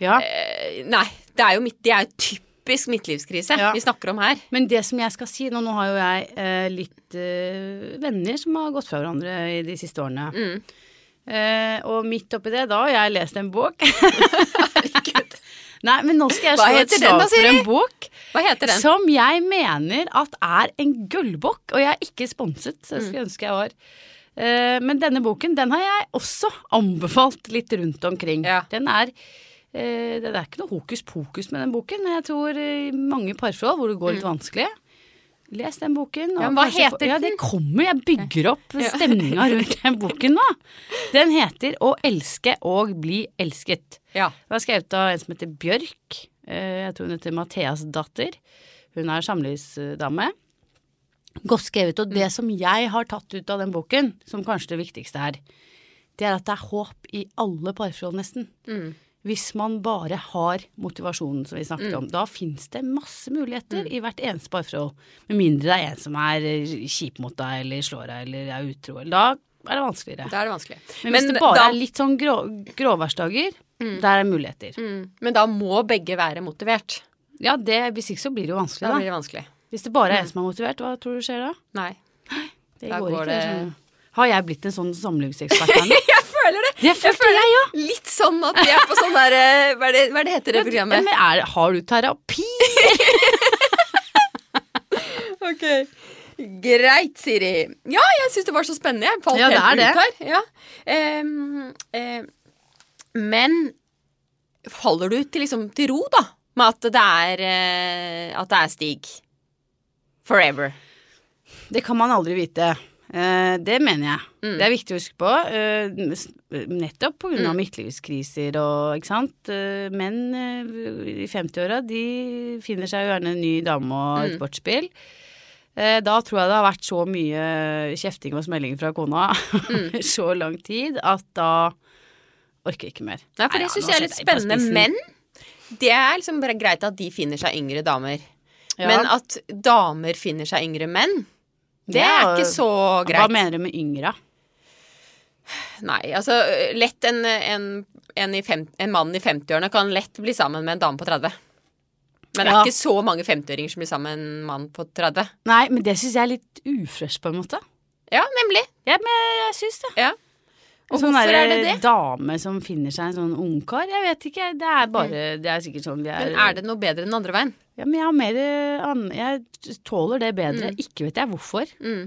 Speaker 1: ja.
Speaker 2: eh, Nei, det er jo midt, det er jo typisk midtlivskrise
Speaker 1: Ja.
Speaker 2: vi snakker om her.
Speaker 1: Men det som jeg skal si nå, nå har jo jeg eh, litt eh, venner som har gått fra hverandre i de siste årene.
Speaker 2: Mm.
Speaker 1: Eh, og midt oppi det, da har jeg lest en bok. Nei, men nå skal jeg
Speaker 2: Hva
Speaker 1: slå et
Speaker 2: heter den
Speaker 1: slag
Speaker 2: da,
Speaker 1: for
Speaker 2: Siri?
Speaker 1: en bok.
Speaker 2: Hva heter den?
Speaker 1: Som jeg mener at er en gullbok, og jeg er ikke sponset, så jeg skulle
Speaker 2: Mm.
Speaker 1: ønske jeg var. Eh, Men denne boken den har jeg også anbefalt litt rundt omkring.
Speaker 2: Ja.
Speaker 1: Den er eh, Det er ikke noe hokus pokus med den boken, men jeg tror i mange parforhold hvor det går litt vanskelig Les den boken. og
Speaker 2: Mm. Ja, men hva
Speaker 1: kanskje
Speaker 2: heter
Speaker 1: Ja, det kommer. Jeg bygger opp stemninga rundt den boken nå. Den heter Å elske og bli elsket.
Speaker 2: Ja.
Speaker 1: Det var skrevet av en som heter Bjørk. Eh, Jeg tror hun heter Matheas datter. Hun er samlivsdame. Godt skrevet. Og det som jeg har tatt ut av den boken, som kanskje det viktigste er, det er at det er håp i alle parforhold, nesten. Hvis man bare har motivasjonen som vi snakket om. Da fins det masse muligheter i hvert eneste parforhold. Med mindre det er en som er eh, kjip mot deg, eller slår deg, eller er utro. eller Da er det vanskeligere.
Speaker 2: Da er det vanskelig.
Speaker 1: Men hvis det bare er litt sånn grå, gråværsdager, der er muligheter.
Speaker 2: mm, men da må begge være motivert.
Speaker 1: Ja, det, hvis ikke så blir det jo vanskelig,
Speaker 2: Da
Speaker 1: da.
Speaker 2: blir det vanskelig.
Speaker 1: Hvis det bare er en som er motivert, hva tror du skjer da?
Speaker 2: Nei.
Speaker 1: Det
Speaker 2: Da
Speaker 1: går,
Speaker 2: går
Speaker 1: ikke. Det...
Speaker 2: det-
Speaker 1: skjønner du. Har jeg blitt en sånn samlivsekspert her nå?
Speaker 2: Jeg føler det!
Speaker 1: Det følte jeg, ja.
Speaker 2: Litt sånn at vi er på sånn der eh, Hva er det, hva er det heter det programmet?
Speaker 1: Men er, har du terapi?
Speaker 2: Ok. Greit, Siri. Ja, jeg syns det var så spennende. Jeg falt
Speaker 1: Ja, det
Speaker 2: helt
Speaker 1: er
Speaker 2: ut her. Ja. Em, em, men holder du til, liksom, til ro, da? Med at det er, eh, at det er Stig. Forever.
Speaker 1: Det kan man aldri vite. Eh, det mener jeg.
Speaker 2: Mm.
Speaker 1: Det er viktig å huske på. eh, s- nettopp pga.
Speaker 2: Mm.
Speaker 1: av midtlivskriser og ikke sant. Eh, menn eh, i 50-åra de finner seg jo gjerne en ny dame og
Speaker 2: Mm.
Speaker 1: et sportsbil. Eh, da tror jeg det har vært så mye kjefting og smelling fra kona
Speaker 2: Mm.
Speaker 1: over så lang tid at da orker jeg ikke mer.
Speaker 2: Nei, for det
Speaker 1: ja,
Speaker 2: syns
Speaker 1: nå
Speaker 2: jeg er litt
Speaker 1: setter jeg
Speaker 2: spennende.
Speaker 1: på spissen.
Speaker 2: Men det er liksom bare greit at de finner seg yngre damer.
Speaker 1: Ja.
Speaker 2: Men at damer finner seg yngre menn, det
Speaker 1: Ja,
Speaker 2: er ikke så greit.
Speaker 1: Hva mener du med yngre?
Speaker 2: Nei, altså lett en, en, en, i fem, en mann i 50-årene kan lett bli sammen med en dame på 30. Men det er
Speaker 1: Ja.
Speaker 2: ikke så mange 50-åringer som blir sammen med en mann på 30.
Speaker 1: Nei, men det syns jeg er litt ufresh, på en måte.
Speaker 2: Ja, nemlig.
Speaker 1: Ja, men jeg syns det.
Speaker 2: Ja. Og
Speaker 1: sånn
Speaker 2: hvorfor
Speaker 1: der
Speaker 2: er det det?
Speaker 1: dame som finner seg en sånn ungkar. Jeg vet ikke. Det er bare Det er sikkert sånn vi er.
Speaker 2: Men er det noe bedre enn andre veien?
Speaker 1: Ja, men jeg har mer eh, an- Jeg tåler det bedre. Ikke vet jeg hvorfor.
Speaker 2: Mm.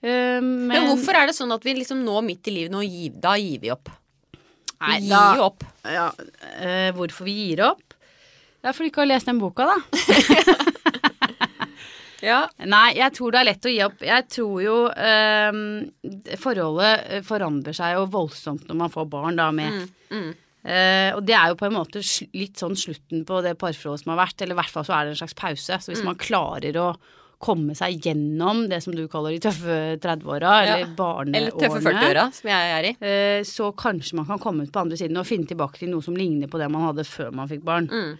Speaker 1: Eh, men,
Speaker 2: Men, hvorfor er det sånn at vi liksom nå midt i livet nå gir, Da gir vi opp.
Speaker 1: Nei,
Speaker 2: vi
Speaker 1: da-
Speaker 2: gir jo opp.
Speaker 1: ja, eh, Hvorfor vi gir opp? Det er fordi du ikke har lest den boka, da.
Speaker 2: Ja.
Speaker 1: Nei, jeg tror det er lett å gi opp. Jeg tror jo eh, forholdet forandrer seg jo voldsomt når man får barn, da,
Speaker 2: Mm.
Speaker 1: med Eh, og det er jo på en måte sl litt sånn slutten på det parforholdet som har vært, eller i hvert fall så er det en slags pause. Så hvis
Speaker 2: Mm.
Speaker 1: man klarer å komme seg gjennom det som du kaller de tøffe 30-åra, eller barneårene
Speaker 2: Eller tøffe 40-åra, som jeg er i.
Speaker 1: eh,
Speaker 2: Mm.
Speaker 1: så kanskje man kan komme ut på andre siden og finne tilbake til noe som ligner på det man hadde før man fikk barn.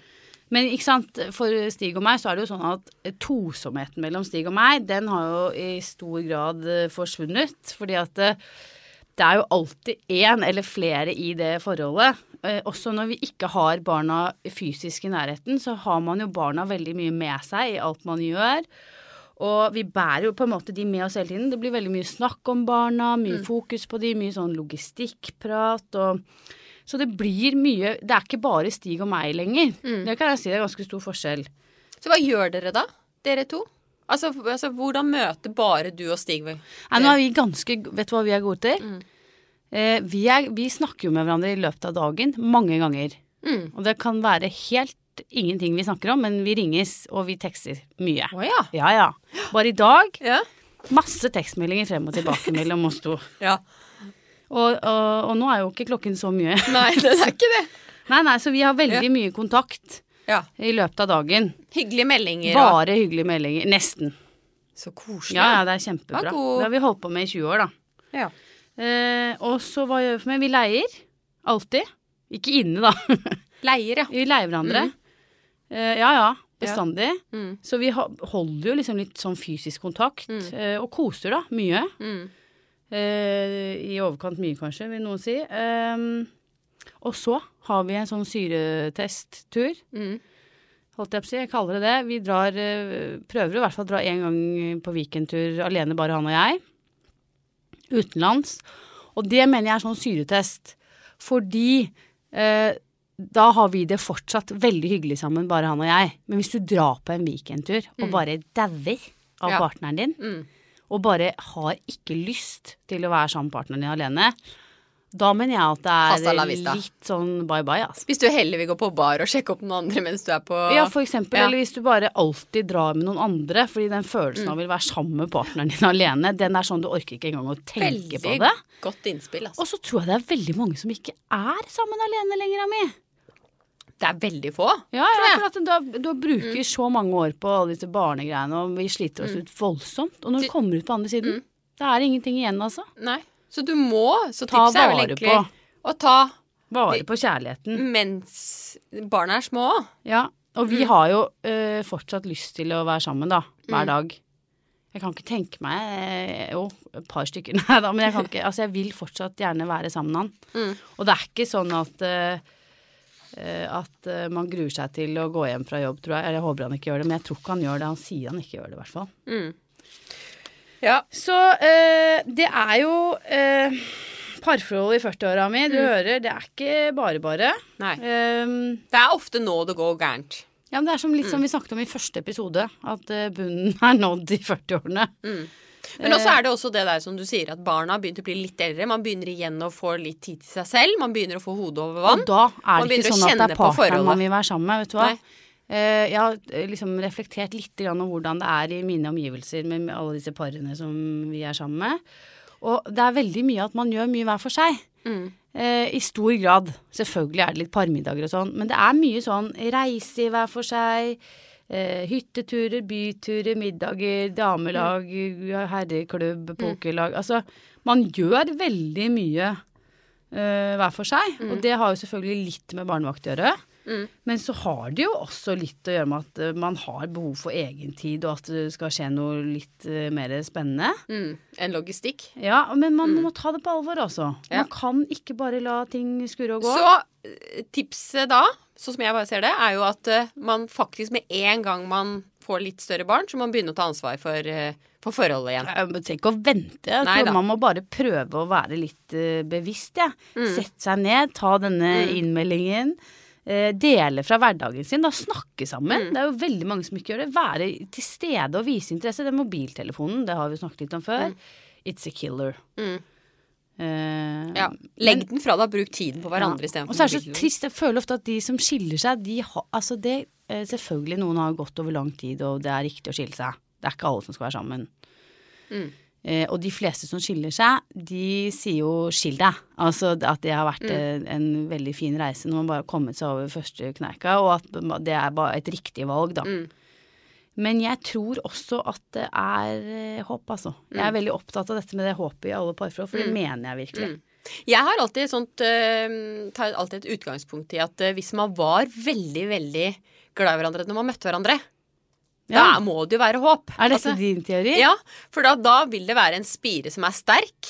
Speaker 1: Men ikke sant, for Stig og meg så er det jo sånn at tosomheten mellom Stig og meg, den har jo i stor grad eh, forsvunnet. Fordi at eh, det er jo alltid én eller flere i det forholdet. Eh, også når vi ikke har barna fysisk i nærheten, så har man jo barna veldig mye med seg i alt man gjør. Og vi bærer jo på en måte de med oss hele tiden. Det blir veldig mye snakk om barna, mye fokus på de, mye sånn logistikkprat og Så det blir mye Det er ikke bare Stig og meg lenger. Det kan jeg si det er ganske stor forskjell.
Speaker 2: Så hva gjør dere da, dere to? Altså, f- altså hvordan møter bare du og Stig? vel?
Speaker 1: Nei, nå er vi ganske Vet du hva vi er gode til? Eh, vi, er, vi snakker jo med hverandre i løpet av dagen mange ganger.
Speaker 2: Mm.
Speaker 1: Og det kan være helt ingenting vi snakker om, men vi ringes og vi tekster mye.
Speaker 2: Å ja.
Speaker 1: Ja ja. Bare i dag
Speaker 2: Ja.
Speaker 1: masse tekstmeldinger frem og tilbake mellom oss to.
Speaker 2: ja.
Speaker 1: Og, og, og nå er jo ikke klokken så mye.
Speaker 2: Nei, det er ikke det.
Speaker 1: Nei, nei, så vi har veldig mye kontakt
Speaker 2: Ja.
Speaker 1: i løpet av dagen.
Speaker 2: Hyggelige meldinger og
Speaker 1: Bare hyggelige meldinger. Nesten.
Speaker 2: Så koselig.
Speaker 1: Ja, ja, det er kjempebra.
Speaker 2: Var god.
Speaker 1: Det har vi holdt på med i 20 år, da.
Speaker 2: Ja.
Speaker 1: Eh, og så hva gjør vi for meg? Vi leier. Alltid. Ikke inne, da.
Speaker 2: Leier, ja.
Speaker 1: vi leier hverandre. Eh, ja ja. Bestandig.
Speaker 2: Mm.
Speaker 1: Så vi ha, holder jo liksom litt sånn fysisk kontakt. eh, og koser, da. Mye.
Speaker 2: Mm.
Speaker 1: Eh, I overkant mye, kanskje, vil noen si. Ehm, og så har vi en sånn syretesttur,
Speaker 2: Mm.
Speaker 1: holdt jeg på å si. Jeg kaller det det. Vi drar, eh, prøver i hvert fall å dra én gang på weekendtur alene, bare han og jeg. Utenlands. Og det mener jeg er sånn syretest. Fordi eh, da har vi det fortsatt veldig hyggelig sammen, bare han og jeg. Men hvis du drar på en weekendtur og bare dauer av
Speaker 2: Mm. Ja.
Speaker 1: partneren din,
Speaker 2: Mm.
Speaker 1: og bare har ikke lyst til å være sammen med partneren din alene, da mener jeg at
Speaker 2: Hasta
Speaker 1: det
Speaker 2: la
Speaker 1: er
Speaker 2: vista.
Speaker 1: litt sånn bye bye, altså.
Speaker 2: Hvis du er heldig vil gå på bar og sjekke opp noen andre mens du er på
Speaker 1: Ja, for eksempel.
Speaker 2: Ja.
Speaker 1: Eller hvis du bare alltid drar med noen andre, fordi den følelsen av å ville være sammen med partneren din alene, den er sånn du orker ikke engang å tenke
Speaker 2: Veldig
Speaker 1: på det.
Speaker 2: godt innspill, altså.
Speaker 1: Og så tror jeg det er veldig mange som ikke er sammen alene lenger, Ami.
Speaker 2: Det er veldig få.
Speaker 1: Ja, ja, Mm. for at da, da bruker vi så mange år på alle disse barnegreiene, og vi sliter oss ut voldsomt. Og når du kommer ut på andre siden, det er ingenting igjen, altså.
Speaker 2: Nei. Så du må Så
Speaker 1: Ta
Speaker 2: tipset er vel
Speaker 1: vare
Speaker 2: egentlig
Speaker 1: på.
Speaker 2: å ta
Speaker 1: Vare på kjærligheten.
Speaker 2: mens barna er små.
Speaker 1: Ja, og vi har jo eh, fortsatt lyst til å være sammen, da. Hver dag. Jeg kan ikke tenke meg eh, Jo, et par stykker, nei da, men jeg kan ikke Altså, jeg vil fortsatt gjerne være sammen med han.
Speaker 2: Mm.
Speaker 1: Og det er ikke sånn at eh, eh, at eh, man gruer seg til å gå hjem fra jobb, tror jeg. Eller jeg håper han ikke gjør det, men jeg tror ikke han gjør det. Han sier han ikke gjør det, i hvert fall.
Speaker 2: Ja.
Speaker 1: Så eh, det er jo eh, parforhold i 40-åra mi. Du hører, det er ikke bare bare.
Speaker 2: Nei.
Speaker 1: Um,
Speaker 2: Det er ofte nå det går gærent.
Speaker 1: Ja, men det er som litt som vi snakket om i første episode, at eh, bunnen er nådd i 40-årene.
Speaker 2: Men også er det også det der som du sier, at barna har begynt å bli litt eldre. Man begynner igjen å få litt tid til seg selv. Man begynner å få hodet over vann.
Speaker 1: Og da er
Speaker 2: Man
Speaker 1: det ikke
Speaker 2: begynner å
Speaker 1: sånn at det
Speaker 2: kjenne
Speaker 1: er
Speaker 2: på
Speaker 1: partneren
Speaker 2: forholdet.
Speaker 1: man vil være sammen med, vet du hva.
Speaker 2: Nei.
Speaker 1: Eh, Jeg har eh, liksom reflektert litt grann om hvordan det er i mine omgivelser med alle disse parene som vi er sammen med. Og det er veldig mye at man gjør mye hver for seg.
Speaker 2: Mm.
Speaker 1: Eh, I stor grad. Selvfølgelig er det litt parmiddager og sånn, men det er mye sånn reise i hver for seg. eh, hytteturer, byturer, middager, damelag,
Speaker 2: Mm.
Speaker 1: herreklubb, pokerlag. Altså, man gjør veldig mye eh, hver for seg.
Speaker 2: Mm.
Speaker 1: Og det har jo selvfølgelig litt med barnevakt å gjøre. Men så har det jo også litt å gjøre med at eh, man har behov for egentid, og at det skal skje noe litt eh, mer spennende.
Speaker 2: Mm. En logistikk.
Speaker 1: Ja, Men man må ta det på alvor, altså.
Speaker 2: Mm. Ja.
Speaker 1: Man kan ikke bare la ting skure og gå.
Speaker 2: Så eh, tipset da, sånn som jeg bare ser det, er jo at eh, man faktisk med en gang man får litt større barn, så må man begynne å ta ansvar for, eh, for forholdet igjen.
Speaker 1: Jeg trenger ikke Eh, å vente. Jeg
Speaker 2: Nei
Speaker 1: tror
Speaker 2: da.
Speaker 1: Man må bare prøve å være litt eh, bevisst. Ja.
Speaker 2: Mm.
Speaker 1: Sette seg ned, ta denne innmeldingen. eh, dele fra hverdagen sin. Da snakke sammen.
Speaker 2: Mm.
Speaker 1: Det er jo veldig mange som ikke gjør det. Være til stede og vise interesse. Den mobiltelefonen, det har vi snakket litt om før. It's a killer.
Speaker 2: Mm.
Speaker 1: Eh,
Speaker 2: Ja. Legg den fra deg, bruk tiden på hverandre
Speaker 1: ja.
Speaker 2: istedenfor
Speaker 1: Og så er det så
Speaker 2: mobilen.
Speaker 1: trist. Jeg føler ofte at de som skiller seg, de har Altså, det eh, Selvfølgelig, noen har gått over lang tid, og det er riktig å skille seg. Det er ikke alle som skal være sammen.
Speaker 2: Mm.
Speaker 1: Eh, og de fleste som skiller seg, de sier jo 'skill deg'. Altså at det har
Speaker 2: Mm.
Speaker 1: vært eh, en veldig fin reise når man bare har kommet seg over første kneika, og at det er bare et riktig valg, da.
Speaker 2: Mm.
Speaker 1: Men jeg tror også at det er eh, håp, altså. Jeg
Speaker 2: Mm.
Speaker 1: er veldig opptatt av dette med det håpet i alle parforhold, for det mener jeg virkelig.
Speaker 2: Mm. Jeg har alltid et sånt eh, tar alltid et utgangspunkt i at eh, hvis man var veldig, veldig glad i hverandre når man møtte hverandre.
Speaker 1: Ja.
Speaker 2: Da må det jo være håp.
Speaker 1: Er dette
Speaker 2: Altså,
Speaker 1: din teori?
Speaker 2: Ja, for da, da vil det være en spire som er sterk,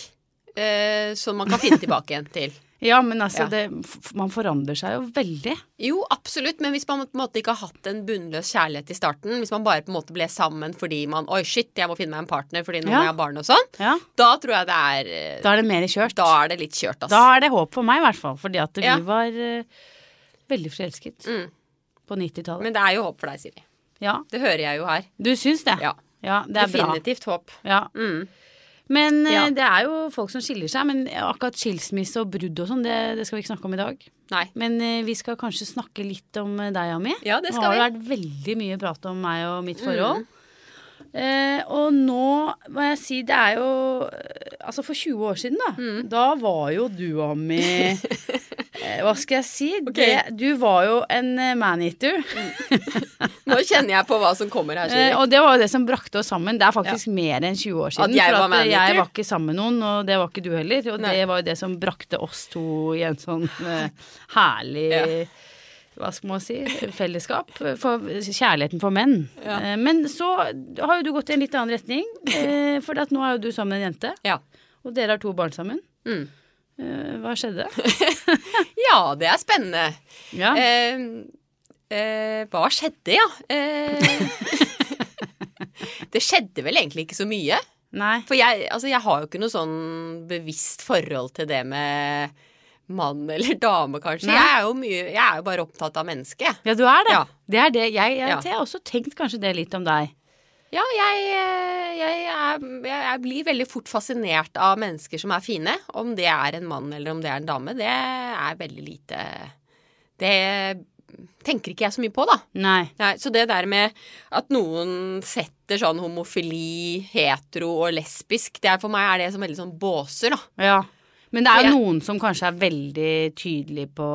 Speaker 2: eh, som man kan finne tilbake igjen til.
Speaker 1: Ja, men altså,
Speaker 2: Ja.
Speaker 1: Det, f- man forandrer seg jo veldig.
Speaker 2: Jo, absolutt, men hvis man på en måte ikke har hatt en bunnløs kjærlighet i starten, hvis man bare på en måte ble sammen fordi man Oi, shit, jeg må finne meg en partner fordi nå
Speaker 1: Ja.
Speaker 2: må jeg ha barn og sånn.
Speaker 1: Ja,
Speaker 2: Da tror jeg det er eh,
Speaker 1: Da er det mer kjørt.
Speaker 2: Da er det litt kjørt, ass.
Speaker 1: Da er det håp for meg, i hvert fall. Fordi at vi
Speaker 2: Ja.
Speaker 1: var eh, veldig forelsket
Speaker 2: Mm.
Speaker 1: på 90-tallet.
Speaker 2: Men det er jo håp for deg, Siri.
Speaker 1: Ja.
Speaker 2: Det hører jeg jo her.
Speaker 1: Du syns det?
Speaker 2: Ja.
Speaker 1: Ja, det er
Speaker 2: Definitivt håp.
Speaker 1: bra. Ja.
Speaker 2: Mm.
Speaker 1: Men eh,
Speaker 2: Ja.
Speaker 1: det er jo folk som skiller seg. Men akkurat skilsmisse og brudd og sånn, det, det skal vi ikke snakke om i dag.
Speaker 2: Nei.
Speaker 1: Men eh, vi skal kanskje snakke litt om eh, deg, Ami.
Speaker 2: Ja, det
Speaker 1: Nå har
Speaker 2: skal
Speaker 1: det
Speaker 2: vi. Mm.
Speaker 1: vært veldig mye prat om meg og mitt forhold. Eh, og nå må jeg si det er jo eh, Altså, for 20 år siden, da,
Speaker 2: Mm.
Speaker 1: da var jo du, Ami eh, Hva skal jeg si? Det, du var jo en eh, maneater.
Speaker 2: Nå kjenner jeg på hva som kommer her,
Speaker 1: Eh,
Speaker 2: Siri.
Speaker 1: og det var jo det som brakte oss sammen. Det er faktisk mer enn 20 år
Speaker 2: At
Speaker 1: siden.
Speaker 2: jeg
Speaker 1: for at
Speaker 2: var
Speaker 1: eh, jeg
Speaker 2: maneater?
Speaker 1: var ikke sammen med noen, og det var ikke du heller. Og
Speaker 2: Nei.
Speaker 1: det var jo det som brakte oss to i en sånn eh, herlig Hva skal man si? Fellesskap. For kjærligheten for menn.
Speaker 2: Ja.
Speaker 1: Eh, Men så har jo du gått i en litt annen retning. eh, For at nå er jo du sammen med en jente,
Speaker 2: Ja.
Speaker 1: og dere har to barn sammen.
Speaker 2: Mm.
Speaker 1: Eh, Hva skjedde?
Speaker 2: ja, det er spennende.
Speaker 1: Ja.
Speaker 2: Eh, eh, hva skjedde, ja? Eh, det skjedde vel egentlig ikke så mye.
Speaker 1: Nei.
Speaker 2: For jeg, altså, jeg har jo ikke noe sånn bevisst forhold til det med mann eller dame, kanskje.
Speaker 1: Nei.
Speaker 2: Jeg er, jo mye, jeg er jo bare opptatt av mennesket, jeg.
Speaker 1: Ja, du er det.
Speaker 2: Ja.
Speaker 1: Det er det. Jeg, jeg,
Speaker 2: Ja.
Speaker 1: jeg har også tenkt kanskje det litt om deg.
Speaker 2: Ja, jeg, eh, jeg, er, jeg, jeg blir veldig fort fascinert av mennesker som er fine. Om det er en mann eller om det er en dame, det er veldig lite Det tenker ikke jeg så mye på, da.
Speaker 1: Nei.
Speaker 2: Nei, så det der med at noen setter sånn homofili, hetero og lesbisk, det er for meg er det som veldig sånn båser, da.
Speaker 1: Ja. Men det er jo
Speaker 2: For jeg-
Speaker 1: noen som kanskje er veldig tydelige på,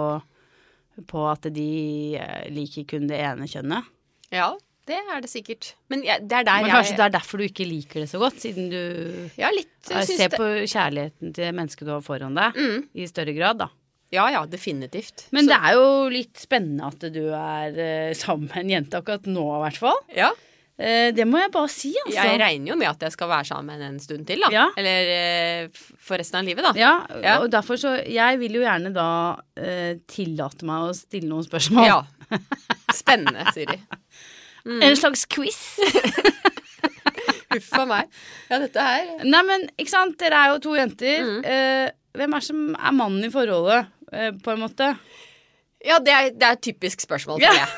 Speaker 1: på at de eh, liker kun det ene kjønnet.
Speaker 2: Ja, det er det sikkert. Men jeg, det er der
Speaker 1: Men
Speaker 2: jeg
Speaker 1: kanskje det er derfor du ikke liker det så godt, siden du
Speaker 2: Ja, litt
Speaker 1: eh,
Speaker 2: syns
Speaker 1: ser
Speaker 2: det.
Speaker 1: på kjærligheten til mennesket du har foran deg,
Speaker 2: Mm.
Speaker 1: i større grad, da.
Speaker 2: Ja ja, definitivt.
Speaker 1: Men
Speaker 2: Så-
Speaker 1: det er jo litt spennende at du er eh, sammen med en jente akkurat nå, i hvert fall.
Speaker 2: Ja.
Speaker 1: Eh, det må jeg bare si, altså.
Speaker 2: Jeg regner jo med at jeg skal være sammen en stund til, da.
Speaker 1: Ja.
Speaker 2: Eller eh, f- for resten av livet, da.
Speaker 1: Ja,
Speaker 2: Ja.
Speaker 1: og derfor så Jeg vil jo gjerne da eh, tillate meg å stille noen spørsmål.
Speaker 2: Ja. Spennende, Siri.
Speaker 1: En slags quiz.
Speaker 2: Huff a meg. Ja, dette her
Speaker 1: Nei, men ikke sant, dere er jo to jenter. Eh, hvem er som er mannen i forholdet, eh, på en måte?
Speaker 2: Ja, det er, det er et typisk spørsmål,
Speaker 1: Ja.
Speaker 2: tror jeg.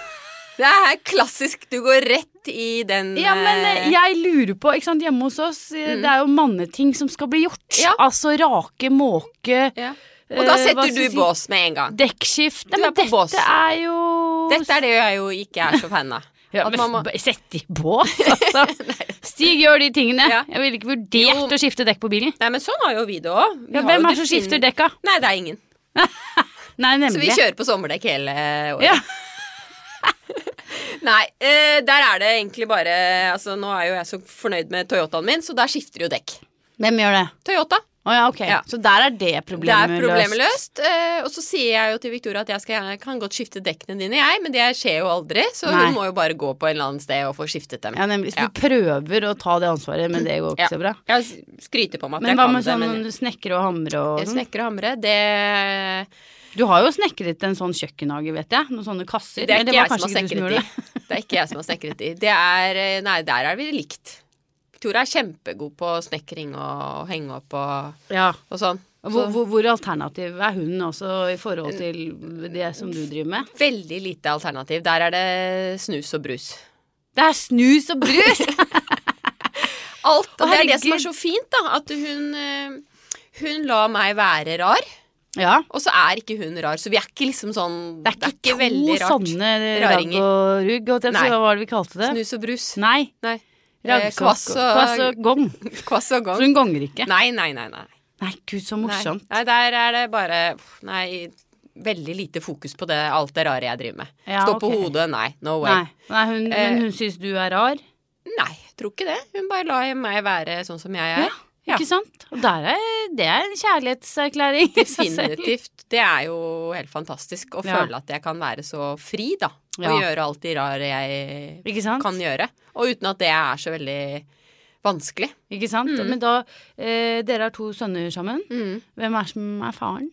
Speaker 2: Det er klassisk. Du går rett i den
Speaker 1: Ja, men eh,
Speaker 2: eh,
Speaker 1: jeg lurer på, ikke sant, hjemme hos oss, eh, det er jo manneting som skal bli gjort.
Speaker 2: Mm. Ja.
Speaker 1: Altså rake, måke,
Speaker 2: ja. Og da
Speaker 1: eh, hva
Speaker 2: setter
Speaker 1: skal
Speaker 2: du
Speaker 1: jeg si?
Speaker 2: bås med en gang.
Speaker 1: dekkskift.
Speaker 2: Du
Speaker 1: Nei,
Speaker 2: er
Speaker 1: men
Speaker 2: på
Speaker 1: dette
Speaker 2: bås.
Speaker 1: er jo
Speaker 2: Dette er det jeg jo ikke er så fan av.
Speaker 1: ja,
Speaker 2: at
Speaker 1: men
Speaker 2: man må-
Speaker 1: b- Sett i bås, altså. Stig gjør de tingene.
Speaker 2: Ja.
Speaker 1: Jeg ville ikke vurdert
Speaker 2: Jo.
Speaker 1: å skifte dekk på bilen.
Speaker 2: Nei, men sånn har jo vi det òg.
Speaker 1: Ja, hvem er det som skifter dekka?
Speaker 2: Nei, det er ingen.
Speaker 1: Nei,
Speaker 2: Så vi
Speaker 1: nemlig.
Speaker 2: kjører på sommerdekk hele året.
Speaker 1: Ja.
Speaker 2: Nei, eh, der er det egentlig bare Altså, nå er jo jeg så fornøyd med Toyotaen min, så der skifter du jo dekk.
Speaker 1: Hvem gjør det?
Speaker 2: Toyota.
Speaker 1: Å ja, ok.
Speaker 2: Ja.
Speaker 1: Så der er det
Speaker 2: Det er
Speaker 1: problemet,
Speaker 2: problemet
Speaker 1: løst.
Speaker 2: løst. Eh, og så sier jeg jo til Victoria at jeg skal, gjerne- kan godt skifte dekkene dine, jeg, men det skjer jo aldri, så
Speaker 1: Nei.
Speaker 2: hun må jo bare gå på en eller annen sted og få skiftet dem.
Speaker 1: Ja, nemlig. Så du prøver å ta det ansvaret, men det går ikke
Speaker 2: Ja.
Speaker 1: så bra.
Speaker 2: Jeg s- skryter på meg at
Speaker 1: Men
Speaker 2: jeg
Speaker 1: hva
Speaker 2: kan
Speaker 1: med
Speaker 2: det,
Speaker 1: sånn
Speaker 2: men
Speaker 1: snekre og hamre og
Speaker 2: jeg
Speaker 1: sånn?
Speaker 2: snekker og hamrer, det
Speaker 1: Du har jo snekret en sånn kjøkkenhage, vet jeg. Noen sånne kasser.
Speaker 2: Det er
Speaker 1: Men
Speaker 2: ikke
Speaker 1: var
Speaker 2: jeg som har
Speaker 1: kanskje ikke du
Speaker 2: snekret i. Det er ikke jeg som har snekret i. Det er eh, Nei, der er vi likt. Victoria er kjempegod på snekring og henge opp og,
Speaker 1: gjorde det. Ja.
Speaker 2: og sånn.
Speaker 1: Hvor, hvor, hvor alternativ er hun også i forhold til det som du driver med?
Speaker 2: Veldig lite alternativ. Der er det snus og brus.
Speaker 1: Det er snus og brus!
Speaker 2: Alt. Og det er det som
Speaker 1: herregud.
Speaker 2: er så fint, da. At hun eh, Hun lar meg være rar,
Speaker 1: ja.
Speaker 2: og så er ikke hun rar. Så vi er ikke liksom sånn
Speaker 1: Det er ikke,
Speaker 2: veldig
Speaker 1: to
Speaker 2: rart.
Speaker 1: sånne ragg
Speaker 2: Raringer.
Speaker 1: og rugg, og det,
Speaker 2: Nei.
Speaker 1: hva var det vi kalte det?
Speaker 2: Snus og brus.
Speaker 1: Nei.
Speaker 2: Nei. Eh,
Speaker 1: Raggsopp.
Speaker 2: kvass og-
Speaker 1: Kvass og gong.
Speaker 2: Kvass og
Speaker 1: Så
Speaker 2: gong.
Speaker 1: hun gonger ikke.
Speaker 2: Nei, nei, nei. nei.
Speaker 1: Nei, gud, så
Speaker 2: Nei.
Speaker 1: morsomt.
Speaker 2: Nei, der er det bare Nei, veldig lite fokus på det, alt det rare jeg driver med.
Speaker 1: Ja,
Speaker 2: Stå på
Speaker 1: ok.
Speaker 2: hodet, nei. No way.
Speaker 1: Nei, Nei hun,
Speaker 2: Eh.
Speaker 1: men hun syns du er rar.
Speaker 2: Nei. tror ikke det. Hun bare lar meg være sånn som jeg er.
Speaker 1: Ja,
Speaker 2: Ja.
Speaker 1: Ikke sant? Og der er, det er en kjærlighetserklæring i seg selv.
Speaker 2: Definitivt. Det er jo helt fantastisk å
Speaker 1: Ja.
Speaker 2: føle at jeg kan være så fri, da. Og
Speaker 1: Ja.
Speaker 2: gjøre alt de rare jeg
Speaker 1: Ikke sant?
Speaker 2: kan gjøre. Og uten at det er så veldig vanskelig.
Speaker 1: Ikke sant?
Speaker 2: Mm.
Speaker 1: Men da eh, Dere har to sønner sammen. Hvem er som er faren?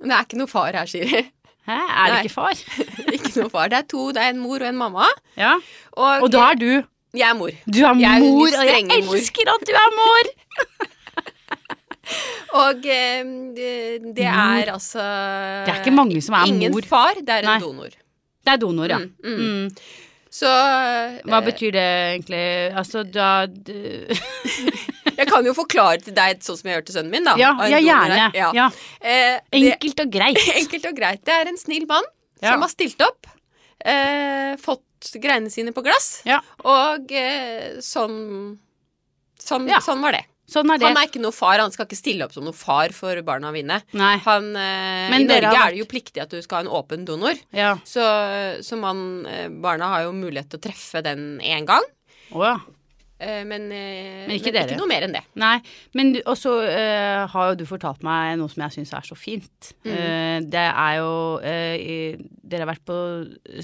Speaker 2: Det er ikke noe far her, Siri.
Speaker 1: Hæ, er det
Speaker 2: Nei.
Speaker 1: ikke far?
Speaker 2: ikke noe far. Det er to. Det er en mor og en mamma.
Speaker 1: Ja.
Speaker 2: Og,
Speaker 1: Og da er du
Speaker 2: jeg er mor.
Speaker 1: Du er
Speaker 2: Jeg er
Speaker 1: mor,
Speaker 2: litt
Speaker 1: og jeg
Speaker 2: strenge mor.
Speaker 1: elsker at du er mor!
Speaker 2: Og eh, det det er altså
Speaker 1: Det er ikke mange som er
Speaker 2: Ingen
Speaker 1: mor.
Speaker 2: far, det er en
Speaker 1: Nei.
Speaker 2: donor.
Speaker 1: Det er donor, ja.
Speaker 2: Mm,
Speaker 1: Mm.
Speaker 2: Så eh,
Speaker 1: Hva betyr det egentlig? Altså, da d-
Speaker 2: Jeg kan jo forklare til deg sånn som jeg gjør til sønnen min, da.
Speaker 1: Ja,
Speaker 2: Av en
Speaker 1: ja
Speaker 2: donor
Speaker 1: gjerne.
Speaker 2: her. Ja.
Speaker 1: Ja.
Speaker 2: Eh, det,
Speaker 1: Enkelt og greit.
Speaker 2: enkelt og greit. Det er en snill mann
Speaker 1: Ja.
Speaker 2: som har stilt opp. Eh, fått greiene sine på glass.
Speaker 1: Ja.
Speaker 2: Og eh, sånn sånn,
Speaker 1: Ja.
Speaker 2: sånn var det.
Speaker 1: Sånn er det.
Speaker 2: Han er ikke noe far. Han skal ikke stille opp som noe far for barna mine.
Speaker 1: Nei.
Speaker 2: Han, eh,
Speaker 1: Men
Speaker 2: I
Speaker 1: dere
Speaker 2: Norge
Speaker 1: har vært-
Speaker 2: er det jo pliktig at du skal ha en åpen donor.
Speaker 1: Ja.
Speaker 2: Så, så man, eh, barna har jo mulighet til å treffe den én gang.
Speaker 1: Å ja.
Speaker 2: eh, Men, eh,
Speaker 1: Men ikke
Speaker 2: men
Speaker 1: dere.
Speaker 2: ikke noe mer enn det.
Speaker 1: Nei. Men du- og så eh, har jo du fortalt meg noe som jeg syns er så fint.
Speaker 2: Mm.
Speaker 1: Eh, det er jo eh, i- Dere har vært på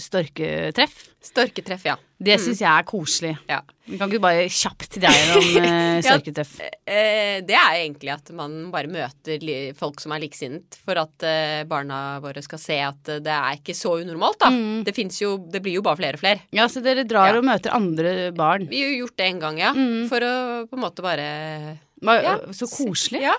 Speaker 1: storketreff.
Speaker 2: Storketreff, ja.
Speaker 1: Det syns jeg er koselig.
Speaker 2: ja.
Speaker 1: Vi kan ikke bare kjapt dra gjennom eh,
Speaker 2: Ja.
Speaker 1: storketreff.
Speaker 2: Eh, Det er egentlig at man bare møter li- folk som er liksinnet, for at eh, barna våre skal se at eh, det er ikke så unormalt,
Speaker 1: Mm.
Speaker 2: da. Det, finnes jo, det blir jo bare flere og flere.
Speaker 1: Ja, så dere drar
Speaker 2: Ja.
Speaker 1: og møter andre barn.
Speaker 2: Vi har jo gjort det en gang, ja.
Speaker 1: Mm.
Speaker 2: For å på en måte bare
Speaker 1: Hva-
Speaker 2: Ja.
Speaker 1: Så koselig.
Speaker 2: Ja,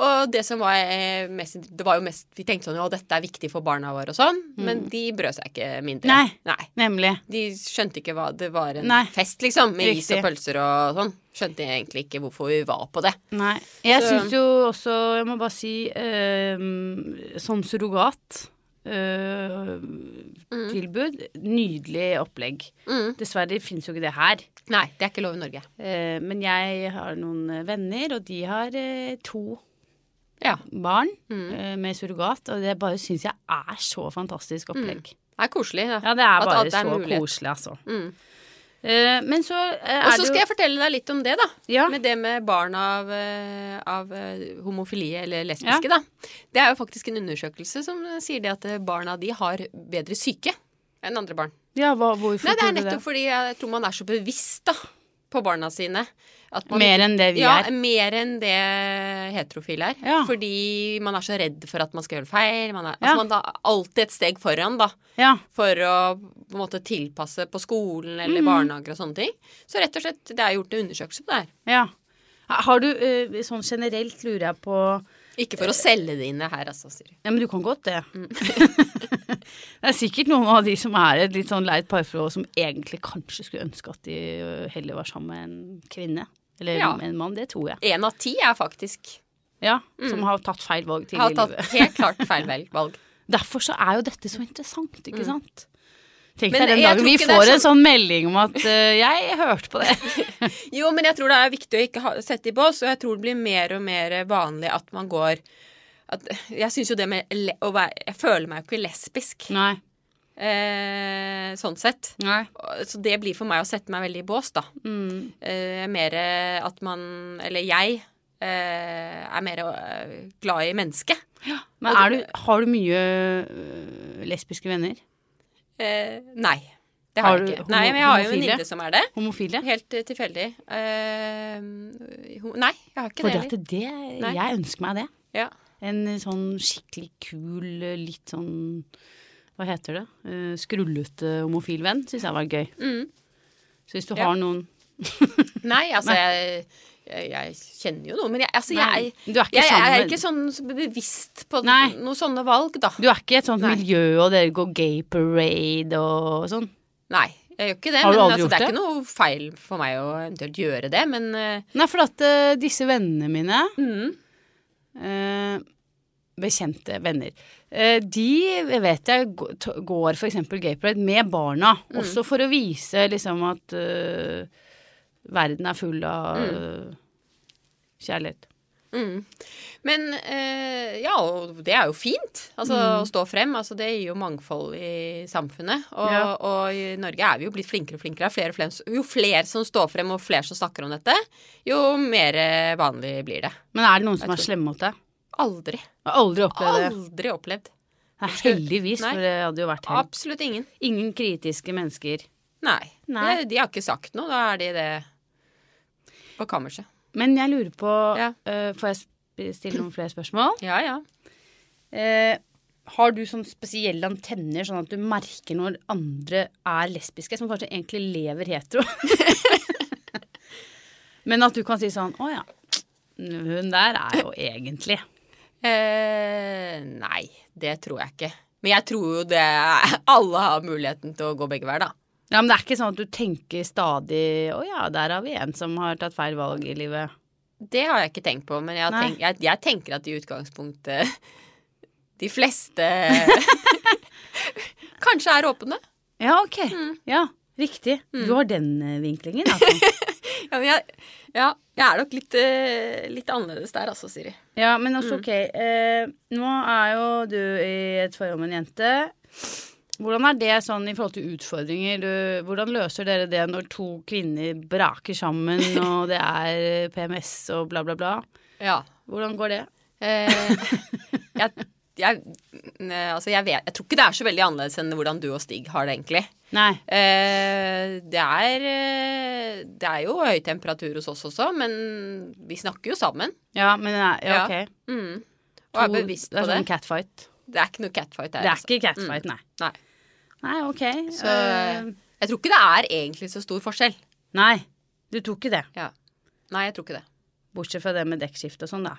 Speaker 2: og det som var eh, mest Det var jo mest Vi tenkte sånn Å, dette er viktig for barna våre og sånn. Men de brød seg ikke mindre.
Speaker 1: Mm. Nei. Nemlig.
Speaker 2: De skjønte ikke hva Det var en
Speaker 1: Nei.
Speaker 2: fest, liksom, med is
Speaker 1: Riktig.
Speaker 2: og pølser og sånn. Skjønte egentlig ikke hvorfor vi var på det.
Speaker 1: Nei. Jeg
Speaker 2: Så-
Speaker 1: syns jo også, jeg må bare si, eh, som surrogat eh,
Speaker 2: Mm.
Speaker 1: tilbud, nydelig opplegg. Dessverre fins jo ikke det her.
Speaker 2: Nei, det er ikke lov i Norge.
Speaker 1: Eh, men jeg har noen eh, venner, og de har eh, to
Speaker 2: Ja.
Speaker 1: barn
Speaker 2: Mm.
Speaker 1: eh, med surrogat, og det bare syns jeg er så fantastisk opplegg.
Speaker 2: Det er koselig. da.
Speaker 1: Ja, det er
Speaker 2: Mm. At
Speaker 1: bare
Speaker 2: alt er
Speaker 1: så
Speaker 2: mulighet.
Speaker 1: koselig, altså. Eh, men så eh, er
Speaker 2: Og
Speaker 1: det
Speaker 2: så
Speaker 1: jo-
Speaker 2: skal jeg fortelle deg litt om det, da.
Speaker 1: Ja.
Speaker 2: Med det med barn av, eh, av eh, homofili eller lesbiske, da. Det er jo faktisk en undersøkelse som eh, sier det at eh, barna de har bedre syke enn andre barn.
Speaker 1: Ja, hva, hvorfor
Speaker 2: Nei, det
Speaker 1: tror
Speaker 2: er
Speaker 1: du
Speaker 2: nettopp fordi jeg tror man er så bevisst da, på barna sine. At man
Speaker 1: Mer enn det vi
Speaker 2: ja,
Speaker 1: er.
Speaker 2: mer enn det heterofile er.
Speaker 1: Ja.
Speaker 2: Fordi man er så redd for at man skal gjøre feil. Man er
Speaker 1: Ja.
Speaker 2: altså, man da, er alltid et steg foran, da.
Speaker 1: Ja.
Speaker 2: For å på en måte tilpasse på skolen
Speaker 1: Mm.
Speaker 2: eller barnehager og sånne ting. Så rett og slett, det er gjort en undersøkelse på det her.
Speaker 1: ja. Har du eh, Sånn generelt lurer jeg på
Speaker 2: Ikke for å selge det inn her, altså, Siri.
Speaker 1: Ja, men du kan godt det.
Speaker 2: Mm.
Speaker 1: det er sikkert noen av de som er et litt sånn leit parforhold, som egentlig kanskje skulle ønske at de ø, heller var sammen med en kvinne. Eller
Speaker 2: Ja.
Speaker 1: en mann, det tror jeg.
Speaker 2: Én av ti er faktisk
Speaker 1: Ja, Som har tatt feil valg tidlig
Speaker 2: Mm. har
Speaker 1: i
Speaker 2: tatt
Speaker 1: livet.
Speaker 2: helt klart feil vel- valg.
Speaker 1: Derfor så er jo dette så interessant, ikke sant? Tenk
Speaker 2: Mm. Men
Speaker 1: deg den
Speaker 2: jeg
Speaker 1: dagen
Speaker 2: tror
Speaker 1: vi
Speaker 2: ikke det er
Speaker 1: får en sånn melding om at ø, 'jeg hørte på det'.
Speaker 2: Jo, men jeg tror det er viktig å ikke ha, sette i bås, og jeg tror det blir mer og mer vanlig at man går at, Jeg syns jo det med le, å være Jeg føler meg jo ikke lesbisk,
Speaker 1: Nei.
Speaker 2: eh, sånn sett.
Speaker 1: Nei.
Speaker 2: Og- Så det blir for meg å sette meg veldig i bås, da.
Speaker 1: Mm.
Speaker 2: Eh, mer eh, at man Eller jeg eh, er mer eh, glad i mennesket.
Speaker 1: Men er du, har du mye ø, lesbiske venner?
Speaker 2: Eh, nei. Det
Speaker 1: Har
Speaker 2: har,
Speaker 1: du
Speaker 2: jeg ikke. Nei, men jeg har jo en
Speaker 1: homofile?
Speaker 2: venninne som er det.
Speaker 1: Homofile?
Speaker 2: Helt eh, tilfeldig. Eh, ho- nei, jeg har ikke
Speaker 1: Fordi
Speaker 2: det.
Speaker 1: at
Speaker 2: heller.
Speaker 1: det
Speaker 2: Nei.
Speaker 1: Jeg ønsker meg det.
Speaker 2: Ja.
Speaker 1: En sånn skikkelig kul, litt sånn Hva heter det? Eh, Skrullete homofil venn syns jeg var gøy.
Speaker 2: Mm.
Speaker 1: Så hvis du
Speaker 2: Ja.
Speaker 1: har noen
Speaker 2: Nei, altså jeg, jeg, jeg kjenner jo noe, men jeg, altså,
Speaker 1: Nei,
Speaker 2: jeg,
Speaker 1: Du er ikke
Speaker 2: jeg, jeg
Speaker 1: sammen
Speaker 2: er
Speaker 1: med
Speaker 2: ikke sånn så bevisst på
Speaker 1: Nei.
Speaker 2: noen sånne valg, da.
Speaker 1: Du er ikke i et sånt
Speaker 2: Nei.
Speaker 1: miljø, og dere går gay parade og sånn?
Speaker 2: Nei, jeg gjør ikke det.
Speaker 1: Har du
Speaker 2: men
Speaker 1: aldri
Speaker 2: altså, det er
Speaker 1: gjort
Speaker 2: ikke noe feil for meg å eventuelt gjøre det, men eh,
Speaker 1: Nei, for at eh, disse vennene mine
Speaker 2: mm,
Speaker 1: eh, Bekjente venner. eh, de vet jeg gå- t- går f.eks. gay parade med barna,
Speaker 2: Mm.
Speaker 1: også for å vise liksom at eh, verden er full av eh, kjærlighet.
Speaker 2: Mm. Men eh, ja, og det er jo fint. Altså å stå frem. Altså, det gir jo mangfold i samfunnet. Og,
Speaker 1: Ja.
Speaker 2: og i Norge er vi jo blitt flinkere og flinkere. Det er Flere og flere, jo flere som står frem, og flere som snakker om dette, jo mer eh, vanlig blir det.
Speaker 1: Men er det noen som er slemme mot deg?
Speaker 2: Aldri.
Speaker 1: Jeg har aldri opplevd det.
Speaker 2: Aldri opplevd.
Speaker 1: Nei, Heldigvis,
Speaker 2: Nei.
Speaker 1: for det hadde jo vært hell.
Speaker 2: Absolutt ingen.
Speaker 1: Ingen kritiske mennesker.
Speaker 2: Nei.
Speaker 1: Nei.
Speaker 2: De, de har ikke sagt noe. Da er de det på kammerset.
Speaker 1: Men jeg lurer på
Speaker 2: Ja.
Speaker 1: eh, Får jeg sp- stille noen flere spørsmål?
Speaker 2: Ja, ja.
Speaker 1: Eh, har du sånn spesielle antenner, sånn at du merker når andre er lesbiske, som kanskje egentlig lever hetero? Men at du kan si sånn Å ja, hun der er jo egentlig
Speaker 2: Eh, nei, det tror jeg ikke. Men jeg tror jo det Alle har muligheten til å gå begge veier, da.
Speaker 1: Ja, men det er ikke sånn at du tenker stadig Å ja, der har vi en som har tatt feil valg i livet.
Speaker 2: Det har jeg ikke tenkt på, men jeg,
Speaker 1: Nei.
Speaker 2: tenk, jeg, jeg tenker at i utgangspunktet de fleste kanskje er åpne.
Speaker 1: Ja, ok. Ja, riktig. Du har den eh, vinklingen, altså.
Speaker 2: Ja, men jeg, ja, jeg er nok litt, eh, litt annerledes der, altså, Siri.
Speaker 1: ja, men
Speaker 2: Mm.
Speaker 1: også ok. Eh, nå er jo du i et forhold med en jente. Hvordan er det sånn i forhold til utfordringer? Du, hvordan løser dere det når to kvinner braker sammen, og det er PMS og bla, bla, bla?
Speaker 2: Ja.
Speaker 1: Hvordan går det?
Speaker 2: Eh, jeg, jeg, ne, altså, jeg, vet, jeg tror ikke det er så veldig annerledes enn hvordan du og Stig har det, egentlig.
Speaker 1: Nei.
Speaker 2: Eh, det, er, eh, det er jo høy temperatur hos oss også, men vi snakker jo sammen.
Speaker 1: Ja, men nei, ja,
Speaker 2: Ja.
Speaker 1: ok.
Speaker 2: Mm. Og er
Speaker 1: To-
Speaker 2: bevisst på
Speaker 1: Det er
Speaker 2: det.
Speaker 1: sånn catfight.
Speaker 2: Det er ikke noe catfight der.
Speaker 1: Det er
Speaker 2: altså.
Speaker 1: ikke catfight, nei.
Speaker 2: Nei.
Speaker 1: Nei, ok.
Speaker 2: Så
Speaker 1: Eh,
Speaker 2: jeg tror ikke det er egentlig så stor forskjell.
Speaker 1: nei, du tok ikke det.
Speaker 2: Ja. Nei, jeg tror ikke det.
Speaker 1: Bortsett fra det med dekkskift og sånn, da.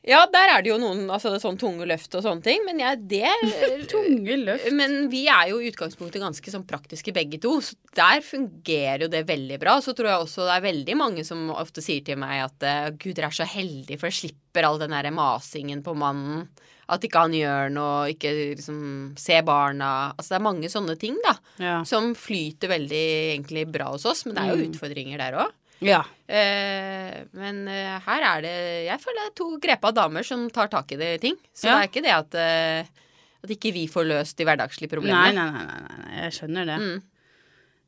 Speaker 2: Ja, der er det jo noen altså, sånn tunge løft og sånne ting, men jeg, det
Speaker 1: Tunge løft.
Speaker 2: Men vi er jo i utgangspunktet ganske sånn praktiske begge to, så der fungerer jo det veldig bra. Så tror jeg også det er veldig mange som ofte sier til meg at eh, gud, dere er så heldige, for dere slipper all den derre masingen på mannen. At ikke han gjør noe, ikke liksom se barna. Altså det er mange sånne ting, da.
Speaker 1: Ja.
Speaker 2: Som flyter veldig egentlig bra hos oss, men det er jo
Speaker 1: Mm.
Speaker 2: utfordringer der òg.
Speaker 1: ja.
Speaker 2: Eh, men eh, her er det Jeg føler det er to grepa damer som tar tak i det ting. Så
Speaker 1: Ja.
Speaker 2: det er ikke det at, eh, at ikke vi får løst de hverdagslige
Speaker 1: Nei, nei,
Speaker 2: problemene.
Speaker 1: nei, nei, nei, nei, jeg skjønner det.
Speaker 2: Mm.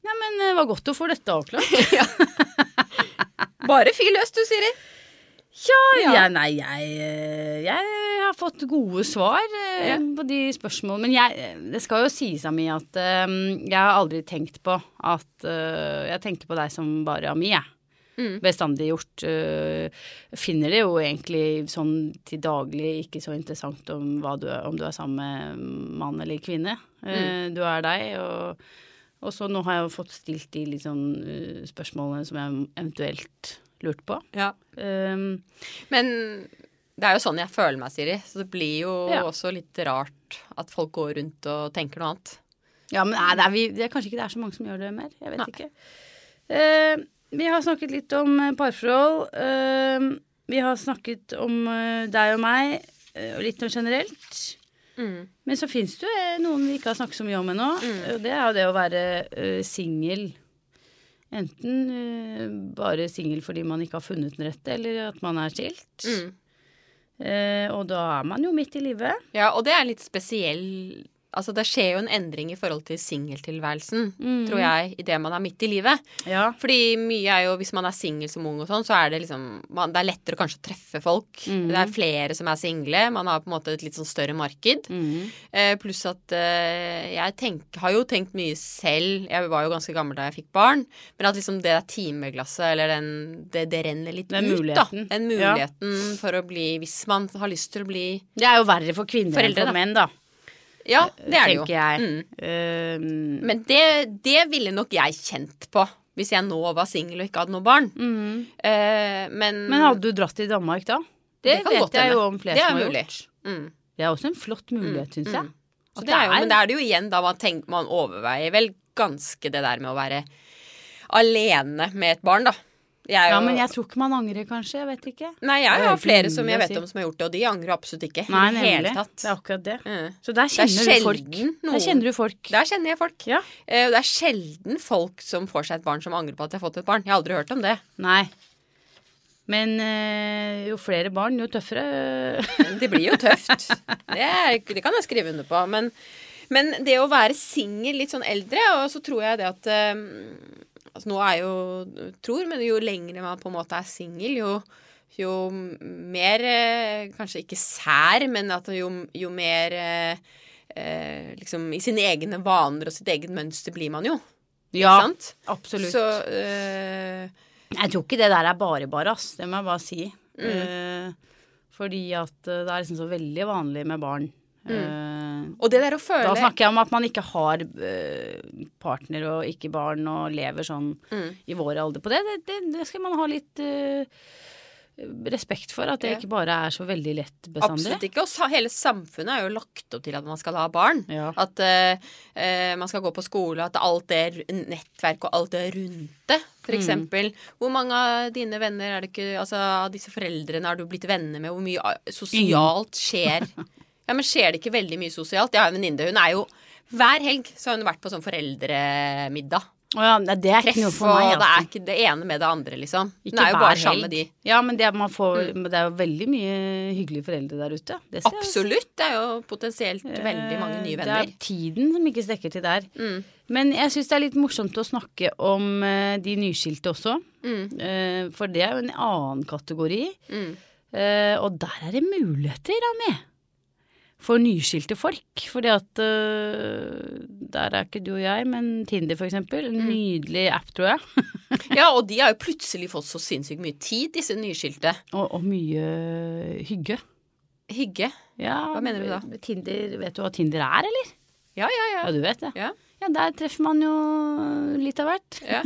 Speaker 1: Nei, men det var godt å få dette avklart.
Speaker 2: Bare fyr løs, du, Siri. Ja.
Speaker 1: Ja, nei, jeg, eh, jeg har fått gode svar eh,
Speaker 2: Ja.
Speaker 1: på de spørsmålene. Men jeg, eh, det skal jo sies, Ami, at eh, jeg har aldri tenkt på at eh, Jeg tenker på deg som bare Ami, jeg.
Speaker 2: Mm.
Speaker 1: Bestandig gjort. eh, finner det jo egentlig sånn til daglig ikke så interessant om, hva du er, om du er sammen med mann eller kvinne. Eh, Du er deg, og, og så nå har jeg jo fått stilt de litt sånn eh, spørsmålene som jeg eventuelt lurte på. Um,
Speaker 2: Men det er jo sånn jeg føler meg, Siri. Så det blir jo
Speaker 1: Ja.
Speaker 2: også litt rart at folk går rundt og tenker noe annet.
Speaker 1: ja, men nei, det er, vi, det er kanskje ikke det er så mange som gjør det mer. Jeg vet
Speaker 2: Nei.
Speaker 1: ikke. Eh, vi har snakket litt om eh, parforhold. Eh, vi har snakket om eh, deg og meg, eh, og litt om generelt. Men så fins det jo eh, noen vi ikke har snakket så mye om ennå.
Speaker 2: Mm.
Speaker 1: Og det er jo det å være uh, singel. Enten eh, bare singel fordi man ikke har funnet den rette, eller at man er skilt.
Speaker 2: Mm.
Speaker 1: Eh, og da er man jo midt i livet.
Speaker 2: Ja, og det er litt spesiell Altså, det skjer jo en endring i forhold til singeltilværelsen,
Speaker 1: Mm.
Speaker 2: tror jeg, idet man er midt i livet.
Speaker 1: Ja.
Speaker 2: Fordi mye er jo, hvis man er singel som ung og sånn, så er det liksom man, Det er lettere kanskje å treffe folk.
Speaker 1: Mm.
Speaker 2: Det er flere som er single. Man har på en måte et litt sånn større marked.
Speaker 1: Mm.
Speaker 2: Eh, pluss at eh, jeg tenk, har jo tenkt mye selv. Jeg var jo ganske gammel da jeg fikk barn. Men at liksom det der timeglasset, eller den Det, det renner litt
Speaker 1: Den
Speaker 2: ut,
Speaker 1: muligheten.
Speaker 2: da. Den
Speaker 1: Ja.
Speaker 2: muligheten for å bli Hvis man har lyst til å bli
Speaker 1: Det er jo verre for kvinner enn
Speaker 2: Foreldre, da.
Speaker 1: for menn, da.
Speaker 2: Ja, det er det jo.
Speaker 1: tenker jeg.
Speaker 2: Mm.
Speaker 1: Um,
Speaker 2: Men det, det ville nok jeg kjent på. Hvis jeg nå var singel og ikke hadde noe barn.
Speaker 1: mhm.
Speaker 2: Eh, men
Speaker 1: Men hadde du dratt til Danmark da? Det,
Speaker 2: Det kan godt
Speaker 1: vet jeg
Speaker 2: hende.
Speaker 1: jo om flere
Speaker 2: Det er
Speaker 1: som har
Speaker 2: mulig.
Speaker 1: gjort.
Speaker 2: mm.
Speaker 1: Det er også en flott mulighet, syns jeg.
Speaker 2: Så
Speaker 1: At
Speaker 2: det er jo, men det er det jo igjen da man, tenker, man overveier vel ganske det der med å være alene med et barn, da. Jeg er jo,
Speaker 1: Ja, men jeg tror ikke man angrer, kanskje. Jeg vet ikke.
Speaker 2: nei,
Speaker 1: Det
Speaker 2: jeg
Speaker 1: er jo
Speaker 2: har
Speaker 1: ikke
Speaker 2: flere
Speaker 1: mulig
Speaker 2: som
Speaker 1: å
Speaker 2: jeg
Speaker 1: si.
Speaker 2: vet om som har gjort det, og de angrer absolutt ikke.
Speaker 1: Nei,
Speaker 2: I det
Speaker 1: nemlig.
Speaker 2: hele tatt.
Speaker 1: Det er akkurat det.
Speaker 2: Mm.
Speaker 1: Så der
Speaker 2: Det er
Speaker 1: kjenner du folk.
Speaker 2: sjelden noen
Speaker 1: Der kjenner du folk.
Speaker 2: Der kjenner jeg folk.
Speaker 1: Ja.
Speaker 2: Eh, og det er sjelden folk som får seg et barn som angrer på at de har fått et barn. Jeg har aldri hørt om det.
Speaker 1: Nei. Men eh, jo flere barn, jo tøffere.
Speaker 2: Det blir jo tøft. Det, er, det kan jeg skrive under på. Men, men det å være singel litt sånn eldre, og så tror jeg det at eh, altså Nå er jo tror, men jo lengre man på en måte er singel, jo, jo mer eh, Kanskje ikke sær, men at jo, jo mer eh, eh, liksom I sine egne vaner og sitt eget mønster blir man jo.
Speaker 1: Ja,
Speaker 2: Ikke sant?
Speaker 1: absolutt.
Speaker 2: Så eh,
Speaker 1: Jeg tror ikke det der er bare bare, ass. Det må jeg bare si.
Speaker 2: Mm.
Speaker 1: Eh, fordi at eh, det er liksom så veldig vanlig med barn. Eh,
Speaker 2: Og det der å
Speaker 1: da
Speaker 2: føle
Speaker 1: snakker jeg om at man ikke har eh, partner og ikke barn og lever sånn
Speaker 2: Mm.
Speaker 1: i vår alder på det. Det, det, det skal man ha litt eh, respekt for. At det
Speaker 2: Ja.
Speaker 1: ikke bare er så veldig lett bestandig.
Speaker 2: Absolutt ikke. Og sa- hele samfunnet er jo lagt opp til at man skal ha barn.
Speaker 1: Ja.
Speaker 2: At eh, eh, man skal gå på skole, at alt det r- nettverk og alt det rundt det,
Speaker 1: Mm.
Speaker 2: for eksempel. Hvor mange av dine venner er det ikke Altså av disse foreldrene har du blitt venner med? Hvor mye ah,
Speaker 1: Mm.
Speaker 2: sosialt skjer? Ja, men skjer det ikke veldig mye sosialt? Jeg har en venninne, hun er jo Hver helg så har hun vært på sånn foreldremiddag.
Speaker 1: Å ja, nei, det er ikke noe
Speaker 2: Treff,
Speaker 1: for meg.
Speaker 2: og det
Speaker 1: altså.
Speaker 2: er ikke det ene med det andre, liksom.
Speaker 1: Ikke
Speaker 2: Hun er jo
Speaker 1: hver
Speaker 2: bare sammen med de.
Speaker 1: helg. Ja, men det, er- man får,
Speaker 2: Mm.
Speaker 1: men det er jo veldig mye hyggelige foreldre der ute. Det ser jeg. Eh,
Speaker 2: Absolutt. Det er jo potensielt veldig mange nye venner.
Speaker 1: Det er tiden som ikke strekker til der. Men jeg syns det er litt morsomt å snakke om eh, de nyskilte også. Eh, For det er jo en annen kategori.
Speaker 2: Mm.
Speaker 1: Eh, Og der er det muligheter, Ami. For nyskilte folk. Fordi at eh, der er ikke du og jeg, men Tinder for eksempel.
Speaker 2: Mm.
Speaker 1: En nydelig app, tror jeg.
Speaker 2: Ja, og de har jo plutselig fått så sinnssykt mye tid, disse nyskilte.
Speaker 1: Og, og mye hygge.
Speaker 2: Hygge.
Speaker 1: Ja,
Speaker 2: Hva mener du da?
Speaker 1: Tinder, vet du hva Tinder er, eller?
Speaker 2: Ja, ja, ja.
Speaker 1: Ja, du vet det.
Speaker 2: Ja,
Speaker 1: Ja, der treffer man jo litt av hvert.
Speaker 2: ja.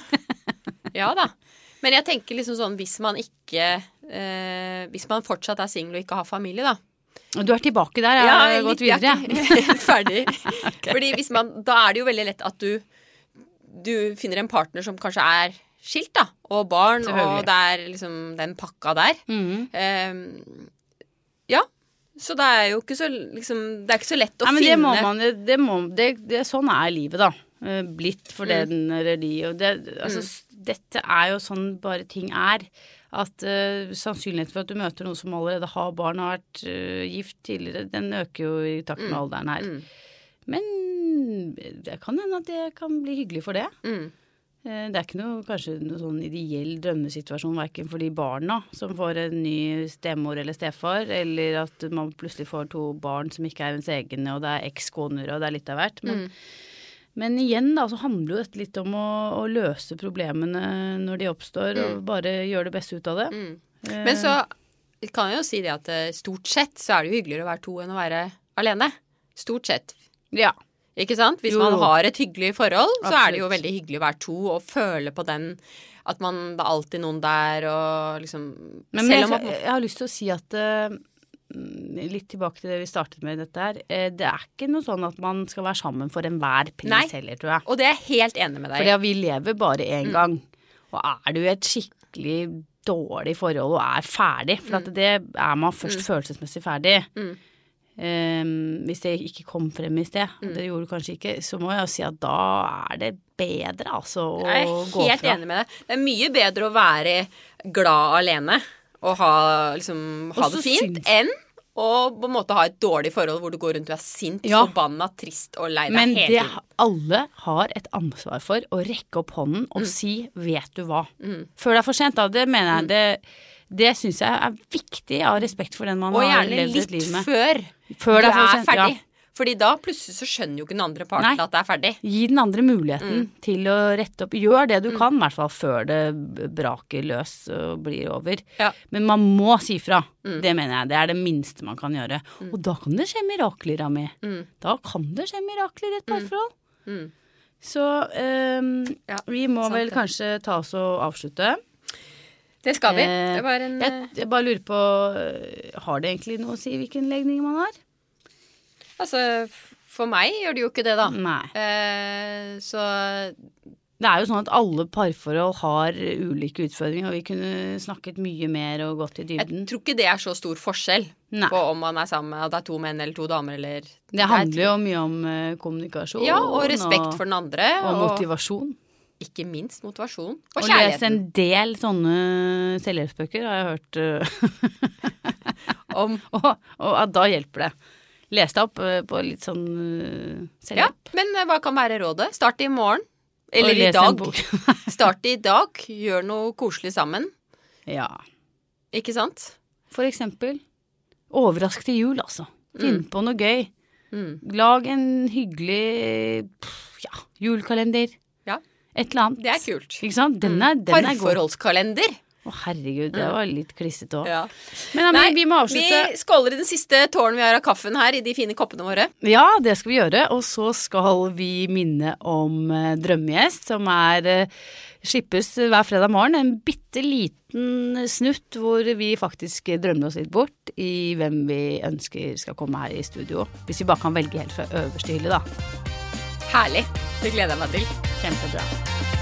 Speaker 2: ja da. Men jeg tenker liksom sånn hvis man ikke eh, Hvis man fortsatt er singel og ikke har familie, da.
Speaker 1: Du er tilbake der, jeg har gått
Speaker 2: litt-
Speaker 1: videre.
Speaker 2: jeg er ikke Ferdig. Fordi hvis man Da er det jo veldig lett at du Du finner en partner som kanskje er skilt, da. Og barn, og
Speaker 1: Selvfølgelig.
Speaker 2: det er liksom den pakka der.
Speaker 1: Mhm.
Speaker 2: Ehm, ja. Så det er jo ikke så liksom Det er ikke så lett å
Speaker 1: Nei, men det
Speaker 2: finne
Speaker 1: må man jo- det må, det, det, Sånn er livet, da. Eh, Blitt
Speaker 2: Mm.
Speaker 1: for den eller de. Og det, altså, s- Dette er jo sånn bare ting er. At eh, sannsynligheten for at du møter noen som allerede har barn og har vært eh, gift tidligere, den øker jo i takt med alderen her.
Speaker 2: Mm.
Speaker 1: Men eh, det kan hende at det kan bli hyggelig for det.
Speaker 2: Mm.
Speaker 1: Eh, Det er ikke noe, kanskje noe sånn ideell drømmesituasjon verken for de barna som får en ny stemor eller stefar, eller at man plutselig får to barn som ikke er ens egne, og det er ekskoner og det er litt av hvert.
Speaker 2: Mm.
Speaker 1: Men, men igjen da, så handler jo dette litt om å, å løse problemene når de oppstår, og bare gjøre det beste ut av det. Eh,
Speaker 2: Mm. Men så kan jeg jo si det at eh, stort sett så er det jo hyggeligere å være to enn å være alene. Stort sett.
Speaker 1: Ja.
Speaker 2: Ikke sant? Hvis
Speaker 1: Jo,
Speaker 2: man
Speaker 1: jo.
Speaker 2: har et hyggelig forhold, så er det jo
Speaker 1: Absolutt.
Speaker 2: veldig hyggelig å være to og føle på den at man, det er alltid noen der og liksom
Speaker 1: Men
Speaker 2: Selv
Speaker 1: jeg,
Speaker 2: om man
Speaker 1: jeg har lyst til å si at eh, mm, Litt tilbake til det vi startet med i dette her. eh, Det er ikke noe sånn at man skal være sammen for enhver pris
Speaker 2: Nei.
Speaker 1: heller, tror jeg.
Speaker 2: Og det er jeg helt enig med deg i.
Speaker 1: Fordi at vi lever bare
Speaker 2: Mm.
Speaker 1: én gang. Og er du i et skikkelig dårlig forhold og er ferdig, for
Speaker 2: Mm.
Speaker 1: at det er man først følelsesmessig ferdig Ehm, Hvis det ikke kom frem i sted,
Speaker 2: Mm.
Speaker 1: og det gjorde det kanskje ikke, så må jeg jo si at da er det bedre, altså, å
Speaker 2: Jeg er
Speaker 1: gå
Speaker 2: helt
Speaker 1: fra.
Speaker 2: enig med deg. Det er mye bedre å være glad alene og ha, liksom, ha
Speaker 1: Og
Speaker 2: det
Speaker 1: så
Speaker 2: fint
Speaker 1: syns-
Speaker 2: enn å på en måte ha et dårlig forhold hvor du går rundt og er sint,
Speaker 1: Ja.
Speaker 2: forbanna, trist og lei deg
Speaker 1: Men
Speaker 2: hele
Speaker 1: det
Speaker 2: tiden.
Speaker 1: alle har et ansvar for, å rekke opp hånden og
Speaker 2: Mm.
Speaker 1: si 'vet du hva'. Før det er for sent, da. Det mener jeg.
Speaker 2: Mm.
Speaker 1: Det, det syns jeg er viktig av respekt for den man
Speaker 2: Og
Speaker 1: har
Speaker 2: gjerne
Speaker 1: levd et
Speaker 2: litt
Speaker 1: liv med.
Speaker 2: før,
Speaker 1: Før
Speaker 2: du
Speaker 1: det er for
Speaker 2: er
Speaker 1: sent, ja.
Speaker 2: ferdig. Fordi da plutselig så skjønner jo ikke den andre parten
Speaker 1: Nei.
Speaker 2: at det er ferdig.
Speaker 1: Gi den andre muligheten
Speaker 2: Mm.
Speaker 1: til å rette opp. Gjør det du kan, i hvert fall før det b- braker løs og blir over.
Speaker 2: Ja. Mm.
Speaker 1: Men man må si fra. Det mener jeg. Det er det minste man kan gjøre. Og da kan det skje mirakler, Rami. Da kan det skje mirakler i et parforhold.
Speaker 2: Mm.
Speaker 1: Så øhm,
Speaker 2: Ja,
Speaker 1: vi må
Speaker 2: sant
Speaker 1: vel
Speaker 2: det.
Speaker 1: kanskje ta oss og avslutte.
Speaker 2: Det skal vi.
Speaker 1: Eh,
Speaker 2: Det var en
Speaker 1: Jeg,
Speaker 2: eh,
Speaker 1: jeg bare lurer på øh, Har det egentlig noe å si hvilken legning man har?
Speaker 2: Altså, f- for meg gjør det jo ikke det, da.
Speaker 1: Nei.
Speaker 2: Eh, så
Speaker 1: Det er jo sånn at alle parforhold har ulike utfordringer, og vi kunne snakket mye mer og gått i
Speaker 2: jeg
Speaker 1: dybden.
Speaker 2: tror ikke det er så stor forskjell
Speaker 1: Nei.
Speaker 2: på om man er sammen og det er to menn eller to damer eller
Speaker 1: Det handler jo mye om eh, kommunikasjon.
Speaker 2: Ja, og respekt for den andre.
Speaker 1: og, og motivasjon.
Speaker 2: ikke minst motivasjon
Speaker 1: Å
Speaker 2: og
Speaker 1: lese
Speaker 2: kjærligheten
Speaker 1: en del sånne selvhjelpsbøker har jeg hørt. øh,
Speaker 2: om
Speaker 1: og, og at da hjelper det. Les deg opp øh, på litt sånn øh,
Speaker 2: Ja,
Speaker 1: selvhjelp.
Speaker 2: men eh, hva kan være rådet? Start i morgen.
Speaker 1: Og
Speaker 2: Eller i
Speaker 1: les en
Speaker 2: dag.
Speaker 1: bok.
Speaker 2: Start i dag. Gjør noe koselig sammen.
Speaker 1: ja.
Speaker 2: Ikke sant?
Speaker 1: For eksempel overrask til jul, altså. Finn på noe gøy.
Speaker 2: Mm.
Speaker 1: Lag en hyggelig pff, ja, julekalender.
Speaker 2: Ja.
Speaker 1: Et eller annet.
Speaker 2: Det er Mm. kult.
Speaker 1: Ikke sant? Den er, den er god.
Speaker 2: Parforholdskalender.
Speaker 1: Å, herregud, det var litt klissete òg.
Speaker 2: Mm. Ja.
Speaker 1: Men Amelie,
Speaker 2: Nei,
Speaker 1: vi må avslutte.
Speaker 2: Vi skåler i den siste tårnen vi har av kaffen her, i de fine koppene våre.
Speaker 1: Ja, det skal vi gjøre. Og så skal vi minne om eh, Drømmegjest, som er eh, slippes eh, hver fredag morgen. En bitte liten snutt hvor vi faktisk drømmer oss litt bort i hvem vi ønsker skal komme her i studio. Hvis vi bare kan velge helt fra øverste hylle, da.
Speaker 2: Herlig. Det gleder jeg meg til.
Speaker 1: Kjempebra.